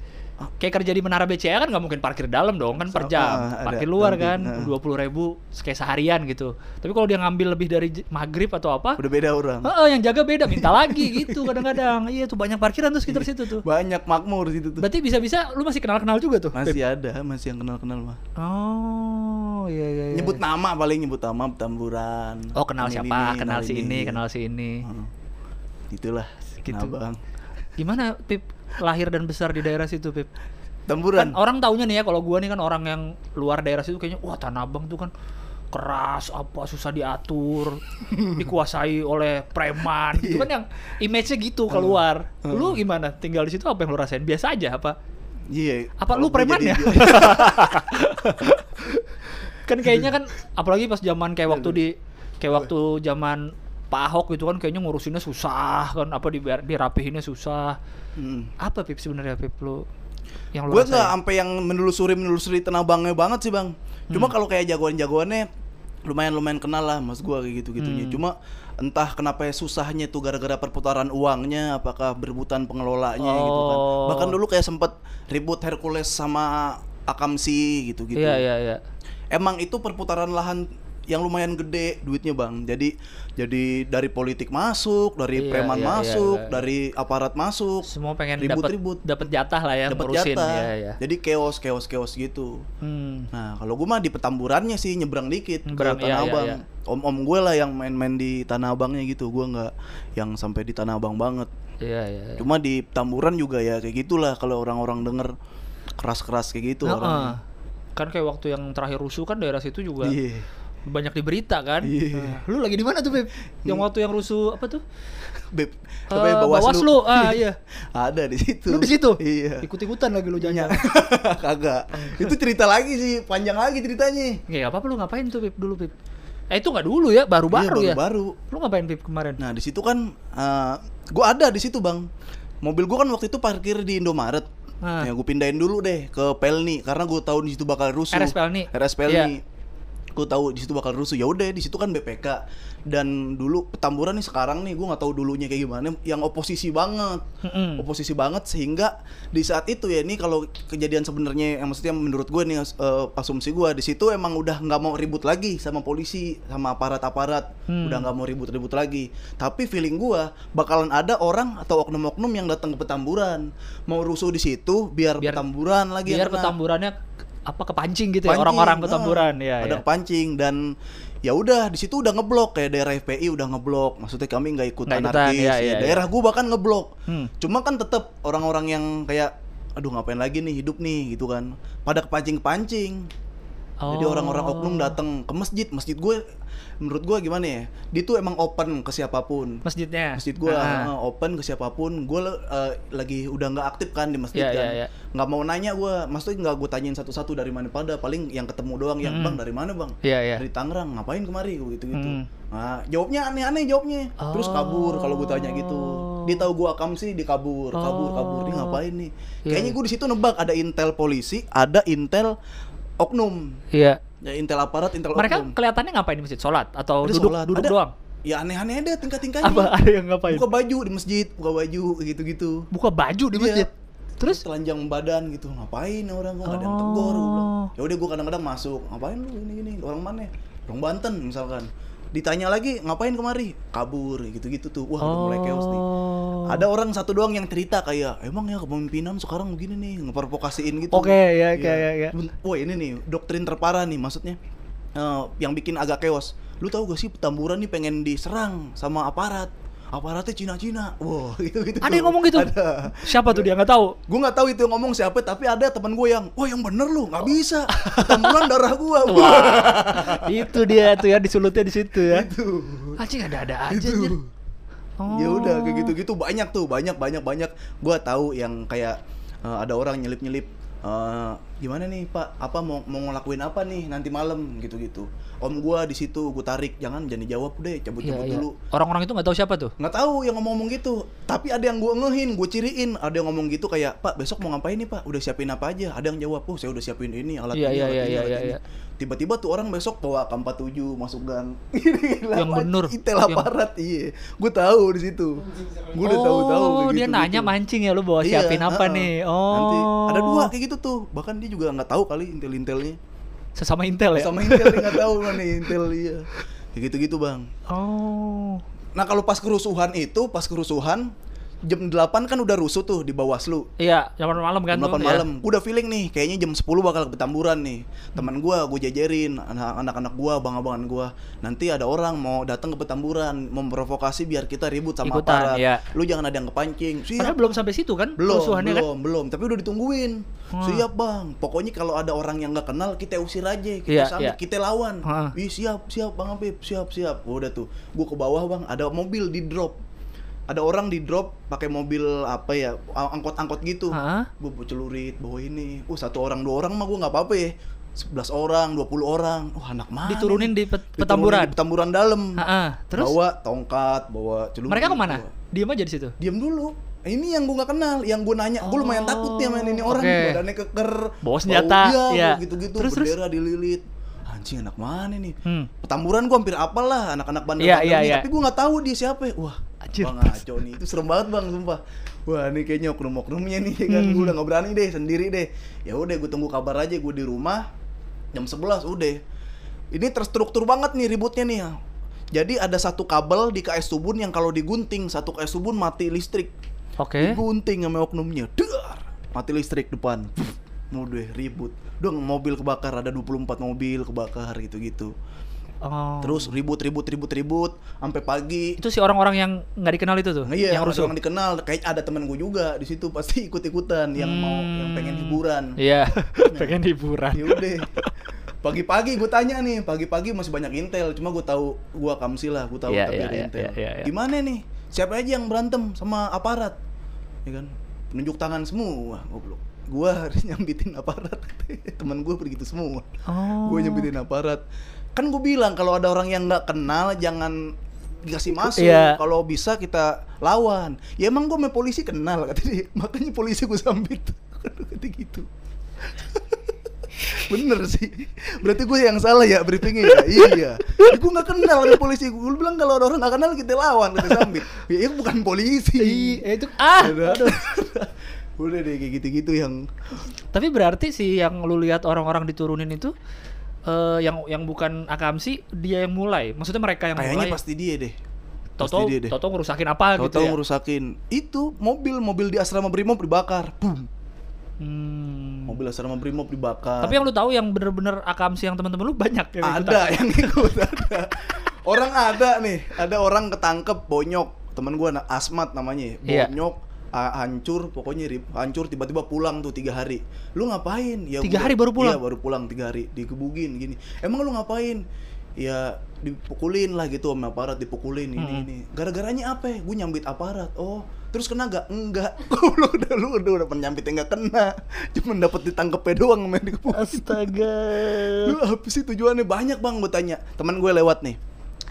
A: kayak kerja di Menara BCA kan nggak mungkin parkir dalam dong kan per
B: Sama,
A: jam.
B: ah, ada,
A: parkir luar
B: nanti,
A: kan
B: nah.
A: dua puluh ribu kayak seharian gitu. Tapi kalau dia ngambil lebih dari j- maghrib atau apa?
B: Udah beda orang.
A: Heeh, yang jaga beda minta lagi gitu kadang-kadang. Iya tuh banyak parkiran tuh sekitar situ tuh.
B: Banyak makmur situ tuh.
A: Berarti bisa-bisa lu masih kenal-kenal juga tuh. Pip?
B: Masih ada, masih yang kenal-kenal mah.
A: Oh, iya iya. iya.
B: Nyebut nama paling nyebut nama tamburan.
A: Oh kenal
B: Ini,
A: siapa?
B: ini, iya. Hmm.
A: kenal si ini, kenal si ini.
B: Heeh. Itulah.
A: Gitu.
B: Gitu. bang.
A: Gimana Pip lahir dan besar di daerah situ Pip?
B: Tamburan.
A: Kan orang taunya nih ya kalau gua nih kan orang yang luar daerah situ kayaknya wah Tanah Abang tuh kan keras apa susah diatur dikuasai oleh preman
B: Iya.
A: gitu kan yang image-nya
B: Hmm.
A: gitu keluar lu gimana tinggal di situ apa yang lu rasain biasa aja apa
B: Iya.
A: apa
B: Kalau
A: lu
B: gua
A: preman
B: jadi-
A: ya kan kayaknya kan apalagi pas zaman
B: Iya,
A: kayak waktu di kayak waktu zaman Pak Ahok gitu kan kayaknya ngurusinnya susah kan apa di dirapihinnya susah
B: Hmm.
A: apa pip sebenarnya pip lu yang lu
B: Gue nggak
A: rasain?
B: sampai yang menelusuri menelusuri tenabangnya banget sih bang.
A: Hmm.
B: Cuma kalau kayak jagoan-jagoannya lumayan lumayan kenal lah mas gue kayak gitu
A: Hmm.
B: gitunya. Cuma entah kenapa ya susahnya tuh gara-gara perputaran uangnya, apakah berebutan pengelolanya gitu kan.
A: Oh.
B: Bahkan dulu kayak sempet ribut Hercules sama Akamsi gitu gitu.
A: iya iya iya
B: Emang itu perputaran lahan yang lumayan gede duitnya bang. Jadi jadi dari politik masuk, dari
A: Iya,
B: preman
A: iya, iya,
B: masuk,
A: iya.
B: dari aparat masuk,
A: semua pengen dapat
B: Ribut-ribut.
A: dapat jatah lah ya
B: dapat
A: ngurusin
B: jatah.
A: ya ya
B: Jadi chaos chaos chaos gitu.
A: hmm.
B: Nah, kalau gue mah di petamburannya sih nyebrang dikit
A: Nyebrang,
B: ke Tanah
A: iya, iya,
B: Abang.
A: iya.
B: Om-om gue lah yang main-main di Tanah Abangnya gitu. Gue nggak yang sampai di Tanah Abang banget.
A: iya iya iya.
B: Cuma di petamburan juga ya kayak gitulah kalau orang-orang denger keras-keras kayak gitu
A: Nah,
B: orangnya.
A: eh. kan kayak waktu yang terakhir rusuh kan daerah situ juga
B: Iya.
A: banyak di berita kan Nah,
B: Iya.
A: lu lagi di mana tuh Pip? yang waktu yang rusuh apa tuh
B: Beb,
A: Eh, Bawaslu. Ah, iya.
B: Ada di situ.
A: lu di situ
B: Iya.
A: ikut ikutan lagi lu jangan
B: Kagak. Itu cerita lagi sih, panjang lagi ceritanya.
A: nggak apa apa lu ngapain tuh Pip dulu Pip eh itu nggak dulu ya baru baru
B: Iya,
A: ya
B: baru-baru.
A: lu ngapain Pip kemarin
B: Nah di situ kan eh, gua ada di situ bang. Mobil gua kan waktu itu parkir di Indomaret.
A: Ah.
B: Ya gue pindahin dulu deh ke Pelni karena gue tahu di situ bakal rusuh.
A: RS Pelni. Iya.
B: RS Pelni. Gue tahu di situ bakal rusuh. Ya udah di situ kan BPK dan dulu petamburan nih sekarang nih gua nggak tahu dulunya kayak gimana. Yang oposisi banget.
A: Mm-mm.
B: Oposisi banget sehingga di saat itu ya ini kalau kejadian sebenarnya yang maksudnya menurut gue nih eh, asumsi gua di situ emang udah nggak mau ribut lagi sama polisi sama aparat-aparat
A: Hmm.
B: udah nggak mau ribut-ribut lagi tapi feeling gua bakalan ada orang atau oknum-oknum yang datang ke petamburan mau rusuh di situ biar,
A: Biar-
B: petamburan lagi yang
A: biar
B: kena.
A: ketamburannya apa kepancing gitu ya
B: Pancing,
A: orang-orang
B: ah,
A: ketamburan ya,
B: ada
A: ya.
B: kepancing dan ya udah di situ udah ngeblok kayak daerah FPI udah ngeblok maksudnya kami nggak ikut
A: Nggak ikutan,
B: anarkis
A: iya,
B: ya,
A: iya, iya.
B: daerah gua bahkan ngeblok
A: Hmm.
B: cuma kan tetap orang-orang yang kayak aduh ngapain lagi nih hidup nih gitu kan pada kepancing-pancing jadi orang-orang oknum
A: Oh.
B: datang ke masjid masjid gue menurut gue gimana ya dia tuh emang open ke siapapun
A: masjidnya
B: masjid gue
A: Ah.
B: eh, open ke siapapun gue eh, lagi udah nggak aktif kan di masjid
A: Iya,
B: kan
A: iya, iya.
B: nggak mau nanya gue maksudnya nggak gue tanyain satu-satu dari mana pada paling yang ketemu doang yang bang dari mana bang
A: Iya, Hmm. iya.
B: dari Tangerang ngapain kemari gitu gitu
A: Hmm.
B: nah, jawabnya aneh-aneh jawabnya terus kabur kalau gue tanya gitu
A: Oh.
B: dia tahu gue akam sih dikabur kabur kabur dia ngapain nih
A: Iya,
B: kayaknya gue di situ nebak ada intel polisi ada intel oknum
A: iya
B: ya intel aparat intel
A: mereka
B: oknum
A: kelihatannya ngapain di masjid sholat atau
B: Ada
A: duduk
B: sholat,
A: duduk
B: ada-
A: doang
B: ya aneh-aneh ada tingkat-tingkatnya
A: apa ada yang ngapain
B: buka baju di masjid buka baju gitu-gitu
A: buka baju di
B: Iya.
A: masjid terus
B: telanjang badan gitu ngapain nih orang kok nggak ada yang tegur gua bilang
A: Oh.
B: ya udah gue kadang-kadang masuk ngapain lu ini ini orang mana orang Banten misalkan ditanya lagi ngapain kemari kabur gitu-gitu tuh wah udah mulai chaos nih
A: Oh.
B: ada orang satu doang yang cerita kayak emang ya kepemimpinan sekarang begini nih ngepervokasiin gitu
A: Oke, ya, oke,
B: Iya.
A: ya, ya.
B: Bun- wah ini nih doktrin terparah nih maksudnya Eh, yang bikin agak chaos lu tahu gak sih petamburan nih pengen diserang sama aparat aparatnya Cina-Cina wah gitu gitu
A: ada yang ngomong gitu
B: ada
A: siapa tuh dia nggak tahu
B: gue nggak tahu itu yang ngomong siapa tapi ada teman gue yang wah yang bener lu nggak bisa tamburan darah gue wah
A: itu dia tuh ya disulutnya di situ ya
B: itu
A: anjing ada-ada aja anjir.
B: itu ya udah kayak
A: Oh.
B: gitu gitu banyak tuh banyak banyak banyak gue tahu yang kayak eh, ada orang nyelip nyelip gimana nih pak apa mau mau ngelakuin apa nih nanti malam gitu gitu om gue di situ gue tarik jangan jangan dijawab deh cabut
A: Iya,
B: cabut
A: iya.
B: dulu
A: orang-orang itu nggak tahu siapa tuh
B: nggak tahu yang ngomong-ngomong gitu tapi ada yang gue ngehin gue ciriin ada yang ngomong gitu kayak pak besok mau ngapain nih pak udah siapin apa aja ada yang jawab oh saya udah siapin ini alat
A: Iya,
B: ini
A: iya,
B: alat
A: iya,
B: ini
A: iya,
B: alat
A: iya,
B: ini
A: iya.
B: tiba-tiba tuh orang besok bawa AK47 masuk gang
A: Yang bener.
B: intel
A: Yang-
B: aparat iya gue tahu di situ gue udah tahu-tahu gitu
A: oh dia nanya mancing ya lu bawa siapin apa nih oh
B: Iya, nanti ada dua kayak gitu tuh bahkan dia juga nggak tahu kali intel-intelnya
A: sesama intel ya
B: sama intel dia nggak tahu mana intel iya kayak gitu-gitu bang
A: oh
B: Nah kalau pas kerusuhan itu, pas kerusuhan jam 8 kan udah rusuh tuh di Bawaslu.
A: Iya, 8 malam kan
B: Jam
A: tuh,
B: 8
A: ya.
B: malam. Udah feeling nih, kayaknya jam 10 bakal ketamburan nih. Teman gua gua jajarin anak- anak-anak gua, abang-abangan gua. Nanti ada orang mau datang ke petamburan, memprovokasi biar kita ribut sama
A: Ikutan,
B: aparat.
A: iya.
B: Lu jangan ada yang kepancing. Siap.
A: Padahal belum sampai situ kan?
B: Iya. belum,
A: kerusuhannya kan?
B: belum, belum. Tapi udah ditungguin. Siap bang. Pokoknya kalau ada orang yang nggak kenal kita usir aja, kita
A: Iya,
B: sambit,
A: iya.
B: kita lawan.
A: Hah.
B: Ih siap, siap bang Apip, siap, siap. Udah tuh, gua ke bawah bang. Ada mobil di drop. Ada orang di drop pakai mobil apa ya, angkot-angkot gitu.
A: Hah?
B: Gua bawa celurit, bawa ini. Uh satu orang dua orang mah gua nggak apa-apa ya. 11 orang, 20 orang. Wah, anak mana?
A: Diturunin
B: nih?
A: di pet-
B: Diturunin
A: petamburan?
B: di petamburan gitu. dalam.
A: Heeh. Terus
B: Bawa tongkat, bawa celurit.
A: mereka kemana?
B: bawa-
A: Diem aja di situ.
B: diam dulu ini yang gue gak kenal yang gue nanya gue lumayan
A: Oh,
B: takut nih sama ini orang
A: oke.
B: badannya keker
A: Bawa senjata, iya.
B: gitu gitu
A: Terus, terus?
B: bendera dililit anjing anak mana nih
A: Hmm.
B: petamburan gue hampir apal lah anak-anak bandel
A: Iya,
B: bandel
A: iya,
B: nih,
A: iya.
B: tapi gue nggak tahu dia siapa ya. wah
A: Anjir.
B: Wah, ngaco nih itu serem banget bang sumpah wah ini kayaknya oknum-oknumnya nih kan gue udah nggak berani deh sendiri deh ya udah gue tunggu kabar aja gue di rumah jam 11 udah ini terstruktur banget nih ributnya nih ya. jadi ada satu kabel di KS Tubun yang kalau digunting satu KS Tubun mati listrik
A: Oke.
B: digunting sama oknumnya dar mati listrik depan Udah ribut dong mobil kebakar ada 24 mobil kebakar gitu-gitu
A: Oh.
B: terus ribut ribut ribut ribut sampai pagi
A: Itu si orang-orang yang nggak dikenal itu tuh,
B: Nah, iya,
A: yang
B: yang
A: rusuh.
B: orang dikenal kayak ada temen gue juga di situ pasti ikut-ikutan yang mau yang pengen hiburan
A: Hmm. Iya, pengen hiburan.
B: Yaudah Pagi-pagi gue tanya nih, pagi-pagi masih banyak intel, cuma gue tahu gua kamsi lah, gue tahu
A: Iya,
B: tapi
A: iya,
B: ada
A: iya,
B: intel.
A: iya, iya, iya.
B: Gimana nih? Siapa aja yang berantem sama aparat? Ya kan? Nunjuk tangan semua, goblok. Gua harus nyambitin aparat. Temen gue begitu semua.
A: Oh.
B: Gue nyambitin aparat. Kan gue bilang kalau ada orang yang nggak kenal jangan dikasih masuk
A: Iya.
B: kalau bisa kita lawan ya emang gue sama polisi kenal kata dia makanya polisi gue sambit kata gitu Bener sih. Berarti gue yang salah ya briefingnya ya. iya. Ya, gue nggak kenal ada polisi. Gue bilang kalau ada orang nggak kenal kita lawan kita sambit. Ya itu bukan polisi.
A: Iya, itu ah.
B: Aduh, aduh. Udah deh kayak gitu-gitu yang
A: Tapi berarti sih yang lu lihat orang-orang diturunin itu eh yang yang bukan Akamsi dia yang mulai. Maksudnya mereka yang
B: kayaknya
A: mulai.
B: pasti dia deh.
A: Toto
B: pasti dia deh.
A: Toto ngerusakin apa
B: Tahu-tahu
A: gitu ya.
B: ngerusakin. Itu mobil mobil di asrama Brimob dibakar. Boom.
A: Hmm.
B: Mobil asrama Brimob dibakar.
A: Tapi yang lu tahu yang bener-bener Akamsi yang teman-teman lu banyak yang
B: ada yang ikut ada orang ada nih ada orang ketangkep bonyok temen gua na- asmat namanya ya,
A: Iya.
B: bonyok a- hancur pokoknya rib- hancur tiba-tiba pulang tuh tiga hari lu ngapain ya
A: Tiga
B: gua-
A: hari baru pulang?
B: iya baru pulang tiga hari digebugin gini emang lu ngapain ya dipukulin lah gitu sama aparat dipukulin ini
A: Hmm.
B: ini gara-garanya apa gue nyambit aparat oh terus kena gak? enggak lu udah lu udah udah penyambitnya nggak kena cuman dapat ditangkepnya doang main dikepung
A: Astaga.
B: lu apa sih tujuannya banyak bang gue tanya teman gue lewat nih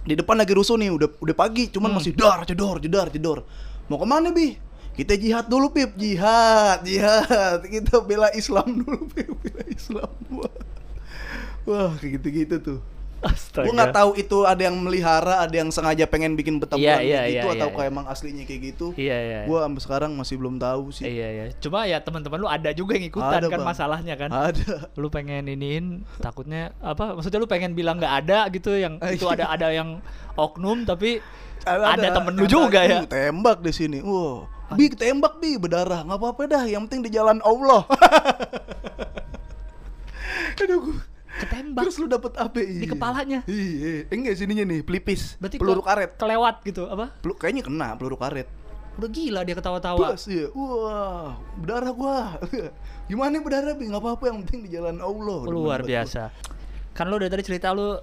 B: di depan lagi rusuh nih udah udah pagi cuman
A: Hmm.
B: masih dar jedor jedor jedor mau kemana bi kita jihad dulu pip jihad jihad kita bela Islam dulu pip bela Islam wah, wah kayak gitu gitu tuh
A: Astaga.
B: gue nggak tahu itu ada yang melihara ada yang sengaja pengen
A: Iya,
B: bikin petamburan
A: iya,
B: kayak gitu
A: iya,
B: atau
A: iya,
B: kayak emang aslinya kayak gitu
A: Iya, iya.
B: gue sampai sekarang masih belum tahu sih
A: Iya, iya. Cuma ya teman-teman lu ada juga yang ikutan
B: Ada,
A: kan
B: Bang.
A: masalahnya kan.
B: ada
A: Lu pengen iniin takutnya apa? Maksudnya lu pengen bilang nggak ada gitu yang itu ada ada yang oknum tapi ada, temen lu
B: kata,
A: juga ya.
B: "Uh, Tembak di sini. Wow. Bi tembak bi berdarah nggak apa-apa dah. Yang penting di jalan Allah. Aduh, gua-
A: Ketembak.
B: terus lu dapet apa?
A: Di kepalanya.
B: Iya, enggak sininya nih, pelipis.
A: Berarti
B: peluru
A: kele-
B: karet.
A: Kelewat gitu apa?
B: Pelu- kayaknya kena peluru karet.
A: Udah gila dia ketawa-tawa.
B: Plus, iya. Wah, berdarah gua. Gimana berdarah bi? Nggak apa-apa yang penting di jalan Allah.
A: Luar
B: Demen banget
A: biasa. Kan lu dari tadi cerita lu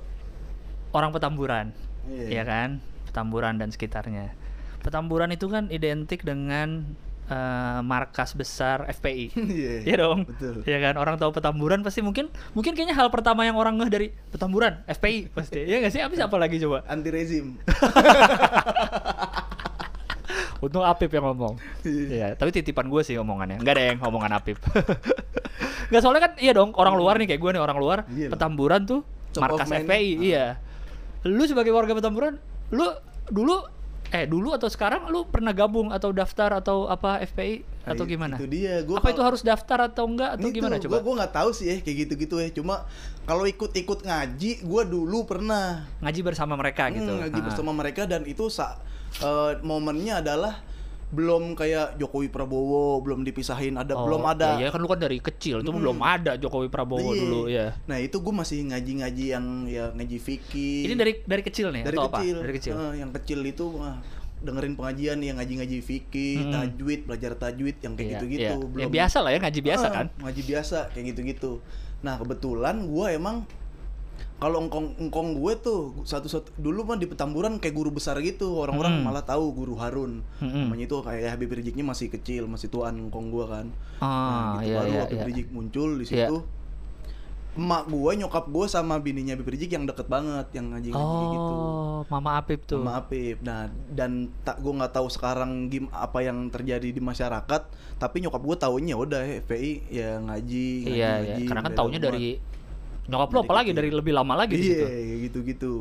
A: orang Petamburan.
B: Iya.
A: Iya kan? Petamburan dan sekitarnya. Petamburan itu kan identik dengan eh, markas besar FPI.
B: Iya.
A: Iya dong.
B: Betul.
A: Iya kan? Orang tahu Petamburan pasti mungkin mungkin kayaknya hal pertama yang orang ngeh dari Petamburan, FPI pasti. Iya nggak sih? Habis apa lagi coba?
B: Anti rezim.
A: Untung Apip yang ngomong.
B: Iya.
A: Iya, tapi titipan gue sih omongannya. Enggak ada yang omongan Apip. Enggak soalnya kan iya dong, orang luar nih kayak gue nih orang luar,
B: Iya lah.
A: petamburan tuh
B: Top
A: markas
B: of mind. Ah.
A: FPI, iya. Lu sebagai warga petamburan, lu dulu eh dulu atau sekarang lu pernah gabung atau daftar atau apa FPI atau
B: Nah, i-
A: gimana?
B: Itu dia. Gua
A: apa
B: kal-
A: itu harus daftar atau enggak atau gimana coba?
B: Gue Gitu. nggak tahu sih ya kayak gitu-gitu ya. Cuma kalau ikut-ikut ngaji, gue dulu pernah
A: Ngaji bersama mereka gitu.
B: Hmm, ngaji
A: Ah.
B: bersama mereka dan itu sa- eh, momennya adalah belum kayak Jokowi Prabowo belum dipisahin ada
A: Oh,
B: belum ada
A: Iya, iya, kan lu kan dari kecil itu belum ada Jokowi Prabowo
B: Iya.
A: dulu ya.
B: Nah itu gue masih ngaji-ngaji yang ya ngaji fikih.
A: Ini dari dari kecil nih
B: dari
A: atau
B: kecil.
A: apa? Dari kecil.
B: Eh, yang kecil itu wah, dengerin pengajian yang ngaji-ngaji fikih,
A: Hmm.
B: tajwid, belajar tajwid yang kayak
A: Iya,
B: gitu-gitu.
A: iya.
B: Belum
A: Ya biasa lah ya ngaji biasa
B: Ah,
A: kan.
B: Ngaji biasa kayak gitu-gitu. Nah kebetulan gue emang kalau engkong engkong gue tuh satu-satu dulu mah di petamburan kayak guru besar gitu orang-orang
A: Mm-mm.
B: malah tahu guru Harun
A: Mm-mm.
B: namanya itu kayak Habib Riziknya masih kecil masih tuan engkong gue kan
A: Ah,
B: nah, gitu
A: iya
B: baru
A: iya
B: Habib
A: iya.
B: Rizik muncul di
A: Iya.
B: situ. Emak gue, nyokap gue sama bininya Habib Rizik yang deket banget, yang ngaji-ngaji kayak gitu.
A: Oh, Mama Apip tuh.
B: Sama Apip. Nah, dan tak gue nggak tahu sekarang gim apa yang terjadi di masyarakat, tapi nyokap gue taunya udah FPI ya ngaji,
A: iya,
B: ngaji,
A: iya.
B: ngaji,
A: Karena kan
B: beda
A: taunya
B: umat.
A: dari nyokap lu
B: Dari
A: apalagi
B: kecil.
A: dari lebih lama lagi di
B: Iya,
A: situ.
B: kayak gitu-gitu.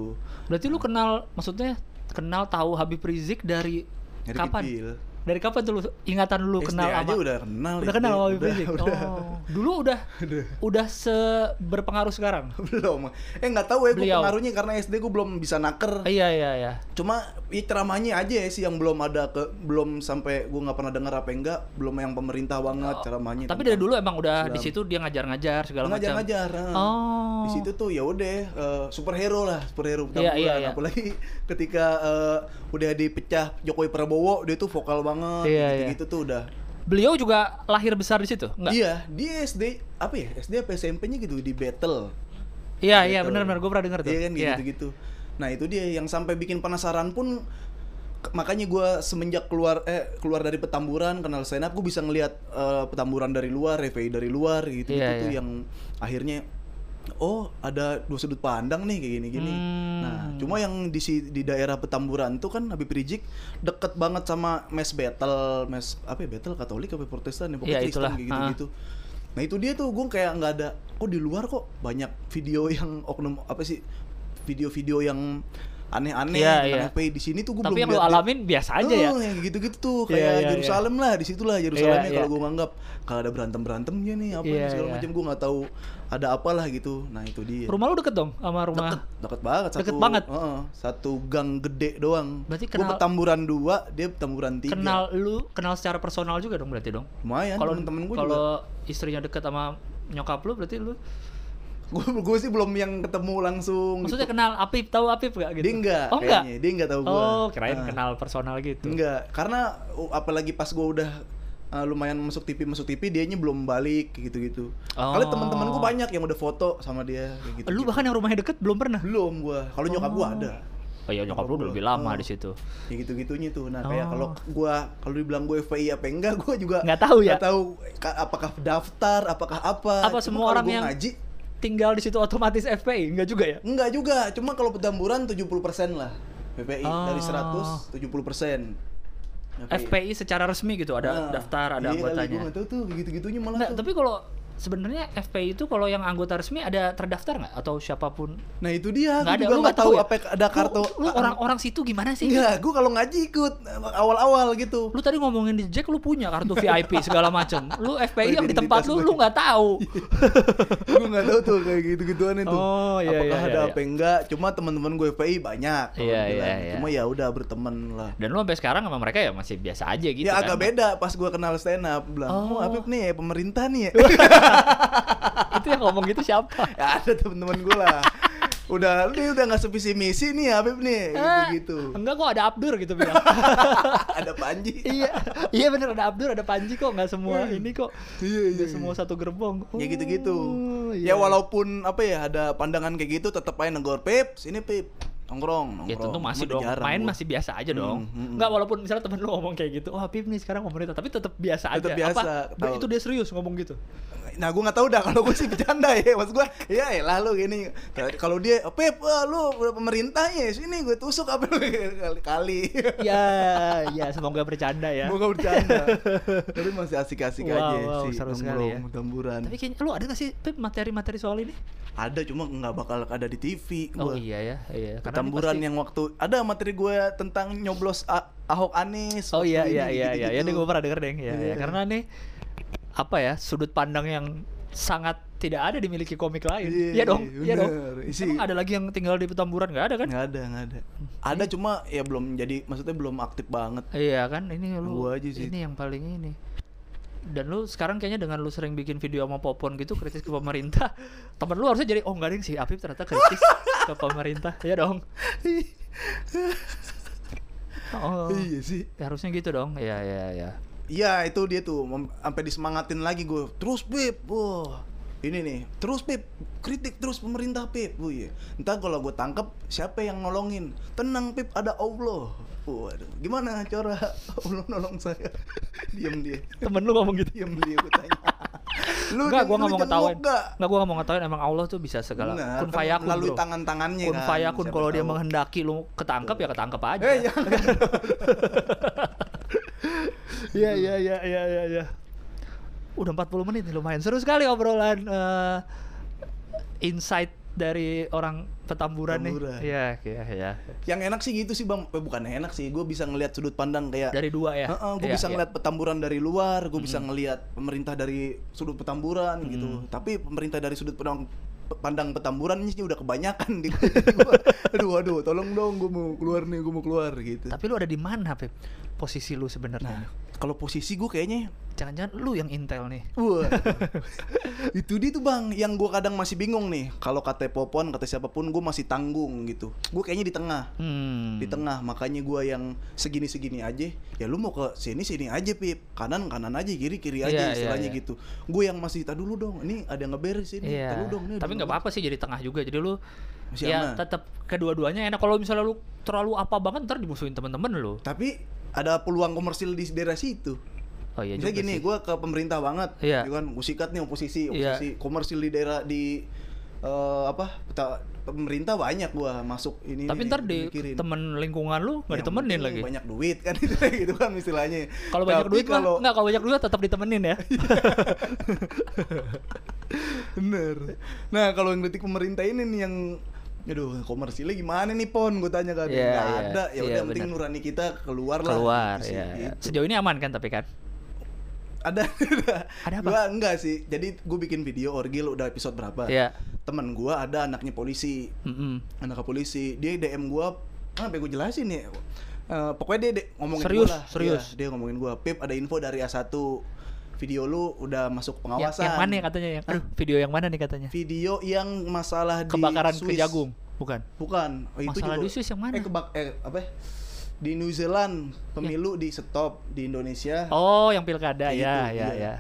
A: Berarti lu kenal maksudnya kenal tahu Habib Rizik dari,
B: Dari
A: kapan?
B: kecil.
A: Dari kapan tuh lu ingatan lu
B: SD
A: kenal
B: aja
A: sama
B: udah kenal.
A: Udah
B: SD.
A: kenal sama Habib
B: Udah,
A: Rizik.
B: udah.
A: Oh, dulu udah
B: Udah.
A: udah se berpengaruh sekarang.
B: belum. Eh nggak tahu ya gue
A: Beliau.
B: pengaruhnya karena SD gue belum bisa naker.
A: Ah, Iya iya iya.
B: cuma ya ceramahnya aja sih yang belum ada ke belum sampai gua nggak pernah dengar apa enggak belum yang pemerintah banget ceramahnya
A: Oh, Tapi dari dulu emang udah di
B: Islam.
A: situ dia ngajar-ngajar segala macam.
B: ngajar ngajar
A: Oh.
B: di situ tuh ya udah eh, superhero lah superhero
A: Iya,
B: pertempuran
A: iya, iya.
B: apalagi ketika eh, udah dipecah Jokowi Prabowo dia tuh vokal banget
A: Iya,
B: gitu,
A: iya.
B: gitu tuh udah
A: Beliau juga lahir besar di situ? Enggak.
B: iya dia SD apa ya SD apa SMP-nya gitu di battle
A: Iya, iya,
B: Gitu.
A: benar benar gue pernah dengar tuh.
B: Iya kan
A: Iya.
B: gitu-gitu. Nah, itu dia yang sampai bikin penasaran pun ke- makanya gua semenjak keluar eh keluar dari petamburan kenal stand up gua bisa ngelihat eh, petamburan dari luar, revei dari luar gitu gitu
A: Iya,
B: tuh
A: iya.
B: yang akhirnya oh ada dua sudut pandang nih kayak gini-gini.
A: Hmm.
B: Nah, cuma yang di si- di daerah petamburan tuh kan Habib Rizik deket banget sama mes battle, mes apa ya battle Katolik apa Protestan ya pokoknya
A: Iya,
B: Kristen
A: itulah.
B: kayak gitu-gitu. Nah itu dia tuh gue kayak nggak ada kok di luar kok banyak video yang oknum apa sih video-video yang aneh-aneh
A: Iya,
B: tentang
A: iya.
B: FPI. di sini tuh gue
A: Tapi
B: belum
A: yang lu
B: lihat-
A: alamin biasa aja ya.
B: Oh, yang gitu-gitu tuh
A: Iya,
B: kayak
A: iya,
B: Yerusalem lah disitulah Yerusalemnya
A: Iya,
B: kalau
A: iya.
B: gue nganggap kalau ada berantem berantemnya nih apa nih,
A: Iya,
B: segala
A: iya.
B: macam gue nggak tahu ada apalah gitu nah itu dia
A: Rumah lu deket dong sama rumah.
B: deket deket banget satu
A: Deket banget.
B: heeh, satu gang gede doang
A: Berarti
B: gue
A: kenal-
B: petamburan dua dia petamburan tiga
A: Kenal lu kenal secara personal juga dong berarti dong.
B: lumayan
A: Kalau
B: temen-temen gue juga Gitu.
A: kalau istrinya deket sama nyokap lu berarti lu
B: gue gue sih belum yang ketemu langsung
A: maksudnya kenal Apip, tahu Apip gak gitu?
B: Dia enggak
A: Oh, enggak.
B: kayaknya. Dia enggak tahu gua.
A: Oh, kirain
B: Nah,
A: kenal personal gitu.
B: Enggak, karena uh, apalagi pas gua udah uh, lumayan masuk TV masuk TV dianya belum balik kayak gitu-gitu.
A: Oh.
B: Kali teman-teman gua banyak yang udah foto sama dia kayak gitu.
A: Lu bahkan yang rumahnya deket belum pernah.
B: belum gua. Kalau nyokap gua ada.
A: Oh iya, nyokap lu udah lebih lama di situ.
B: Ya gitu-gitunya tuh. Nah, kayak
A: Oh.
B: kalau gua kalau dibilang gua FPI apa enggak, gua juga
A: Nggak tahu ya?
B: Nggak tahu ka- apakah daftar, apakah apa.
A: Apa
B: Cuma
A: semua
B: kalau
A: orang
B: gua
A: yang-
B: ngaji
A: Tinggal di situ otomatis FPI, enggak juga ya?
B: Enggak juga, cuma kalau petamburan 70% lah PPI
A: Oh.
B: dari 100 70%.
A: FPI secara resmi gitu ada
B: Ah,
A: daftar, ada
B: iya kali,
A: anggotanya.
B: gua nggak tahu tuh gitu-gitunya malah
A: Nggak,
B: tuh.
A: tapi kalau sebenarnya FPI itu kalau yang anggota resmi ada terdaftar nggak atau siapapun?
B: Nah, itu
A: Nggak
B: dia. Gua
A: ada, lu
B: juga nggak
A: nggak
B: tahu
A: tahu ya?
B: apa ada
A: Lu-
B: kartu. Ah,
A: Lu orang-orang situ gimana sih?
B: Enggak, gua kalau ngaji ikut awal-awal gitu.
A: Lu tadi ngomongin di Jack lu punya kartu VIP segala macam. Lu FPI yang di
B: Identitas
A: tempat lu
B: gua. gitu. Iya.
A: lu nggak tahu.
B: gua nggak tahu tuh kayak gitu-gituan itu.
A: Oh, iya,
B: Apakah
A: iya,
B: ada
A: iya,
B: apa enggak? Cuma teman-teman gue FPI banyak kalau
A: Iya,
B: dibilang.
A: iya, iya.
B: Cuma ya udah berteman lah.
A: Dan lu sampai sekarang sama mereka ya masih biasa aja gitu
B: ya
A: kan?
B: agak beda pas gua kenal stand up bilang,
A: Oh.
B: "Oh, Apip nih pemerintah nih ya."
A: Itu yang ngomong gitu siapa?
B: ya ada teman-teman gue lah udah lu nih udah nggak sevisi misi nih Habib nih gitu gitu
A: Eh, Enggak kok ada Abdur gitu bilang.
B: ada Panji
A: iya, iya bener ada Abdur, ada Panji kok, nggak semua ini kok.
B: Iya, iya,
A: Nggak semua satu gerbong.
B: ya gitu gitu
A: Oh,
B: ya
A: iya.
B: walaupun apa ya ada pandangan kayak gitu tetap aja negor Pip sini Pip nongkrong nongkrong
A: Ya tentu masih
B: Cuma udah
A: dong,
B: jarang
A: main
B: gua.
A: masih biasa aja dong.
B: Hmm, hmm, hmm.
A: Enggak walaupun misalnya temen lu ngomong kayak gitu, wah Pip nih sekarang pemerintah, tapi tetap biasa aja.
B: Tetep
A: Apa?
B: biasa, tahu.
A: Itu dia serius ngomong gitu.
B: nah gue nggak tahu dah kalau gue sih bercanda ya mas gue ya lah lu gini kalau dia Pip wah, lu udah pemerintah ya sini gue tusuk apa lu kali kali
A: ya, ya semoga bercanda ya.
B: mau gak bercanda tapi masih asik-asik
A: Wow,
B: aja
A: wow,
B: sih
A: seru sekali ya.
B: nongkrong tamburan
A: Tapi kayaknya lu ada gak sih Pip materi-materi soal ini?
B: ada cuma nggak bakal ada di TV
A: Oh
B: gua.
A: iya ya, iya. Karena ini
B: Ketamburan
A: pasti-
B: yang waktu ada materi gue tentang nyoblos A- Ahok Anies.
A: Oh
B: waktu
A: iya
B: ini, gitu,
A: iya iya iya, ya
B: gitu-gitu.
A: gue pernah denger deng. Ya, ya.
B: Iya.
A: karena nih apa ya sudut pandang yang sangat tidak ada dimiliki komik lain. Iya
B: Iya,
A: dong, iya dong.
B: bener. Isi- Nah.
A: Emang ada lagi yang tinggal di Petamburan nggak ada kan?
B: nggak ada nggak ada ada cuma ya belum jadi maksudnya belum aktif banget
A: Iya kan, ini lu
B: Gua aja sih.
A: ini yang paling ini. Dan lu sekarang kayaknya dengan lu sering bikin video sama Popon gitu kritis ke pemerintah, temen lu harusnya jadi oh enggak ding si Afif ternyata kritis ke pemerintah. Iya dong. Oh.
B: iya sih
A: ya harusnya gitu dong. Iya iya iya.
B: Iya itu dia tuh mem- sampai disemangatin lagi gue terus pip wah ini nih terus pip kritik terus pemerintah pip wih entah kalau gue tangkep siapa yang nolongin tenang pip ada allah waduh gimana cara allah nolong saya diam dia
A: Temen lu ngomong gitu.
B: diam dia gue tanya lu
A: Enggak, gua nggak mau
B: ketahuan
A: ngetawain. Enggak, gua nggak mau ngetawain emang Allah tuh bisa segala.
B: Benar,
A: kun
B: kan
A: fayakun,
B: melalui
A: bro.
B: tangan-tangannya
A: kun
B: kan,
A: fayakun
B: siapa
A: kalau dia
B: tahu.
A: menghendaki lu ketangkep ya ketangkep aja.
B: eh jangan
A: Iya iya iya iya iya iya. Udah 40 menit nih lumayan seru sekali obrolan eh, insight dari orang petamburan,
B: Petamburan.
A: nih. Iya iya iya.
B: yang enak sih gitu sih bang Eh, bukan enak sih gue bisa ngelihat sudut pandang kayak
A: Dari dua ya.
B: gue
A: Iya,
B: bisa
A: iya. Hmm.
B: ngeliat petamburan dari luar, gue bisa ngeliat pemerintah dari sudut petamburan gitu. Tapi pemerintah dari sudut pandang pandang petamburan ini udah kebanyakan di gua. Aduh, aduh, tolong dong, gue mau keluar nih, gue mau keluar gitu.
A: Tapi lu ada di mana, Pep? Posisi lu sebenarnya.
B: Nah, kalau posisi gue kayaknya,
A: Jangan-jangan lu yang intel nih.
B: wah, itu dia tuh bang, yang gue kadang masih bingung nih. Kalau kata Popon, kata siapapun, gue masih tanggung gitu. Gue kayaknya di tengah.
A: Hmm.
B: di tengah makanya gua yang segini segini aja ya lu mau ke sini sini aja pip kanan kanan aja kiri kiri aja
A: Iya, iya,
B: istilahnya
A: iya.
B: gitu gue yang masih tak dulu dong ini ada yang ngeberes ini
A: Iya.
B: tak dulu dong ini ada
A: Tapi
B: yang
A: nggak apa-apa sih jadi tengah juga. Jadi lu
B: Masih
A: ya
B: aman.
A: tetap kedua-duanya enak. Kalau misalnya lu terlalu apa banget ntar dimusuhin temen-temen lu.
B: ngeberes." tapi ada peluang komersil di daerah situ
A: Oh iya juga
B: Misalnya gini
A: sih.
B: gua ke pemerintah banget
A: Iya.
B: ya kan gua sikat nih oposisi
A: Iya.
B: oposisi komersil di daerah di eh, apa peta- pemerintah banyak gua masuk ini
A: Tapi
B: ini,
A: ntar
B: ini,
A: di
B: mikirin.
A: temen lingkungan lu nggak
B: Yang
A: ditemenin
B: penting
A: lagi.
B: banyak duit kan gitu kan istilahnya
A: Kalau banyak
B: Tapi
A: duit mah
B: kalau-
A: nggak kalau banyak duit tetap ditemenin ya.
B: Bener. Nah kalau yang kritik pemerintah ini nih yang Aduh, komersilnya gimana nih pon? Gue tanya kan,
A: Iya,
B: nggak
A: iya.
B: ada.
A: Iya,
B: Ya udah, yang penting
A: bener.
B: nurani kita keluar lah.
A: Keluar
B: gitu sih,
A: ya. ya.
B: gitu.
A: Sejauh ini aman kan tapi kan.
B: Ada,
A: Ada apa?
B: Gua enggak sih. Jadi gue bikin video orgil udah episode berapa?
A: Iya.
B: Temen gue ada anaknya polisi,
A: Mm-mm.
B: anak polisi. Dia DM gue, ah, apa yang gue jelasin ya? Eh, pokoknya dia, dia ngomongin
A: Serius,
B: gua lah.
A: serius.
B: Iya, dia ngomongin gue, Pip ada info dari A1 video lu udah masuk
A: Ya,
B: pengawasan.
A: yang mana ya katanya yang aduh video yang mana nih katanya?
B: Video yang masalah
A: Kebakaran
B: di
A: ke
B: Swiss.
A: jagung, bukan.
B: Bukan, oh, itu
A: Masalah
B: juga.
A: di Swiss yang mana?
B: Eh, kebak eh apa? ya? Di New Zealand pemilu di stop di
A: Ya.
B: Indonesia.
A: Oh, yang pilkada
B: kayak
A: ya,
B: gitu,
A: ya,
B: iya.
A: ya.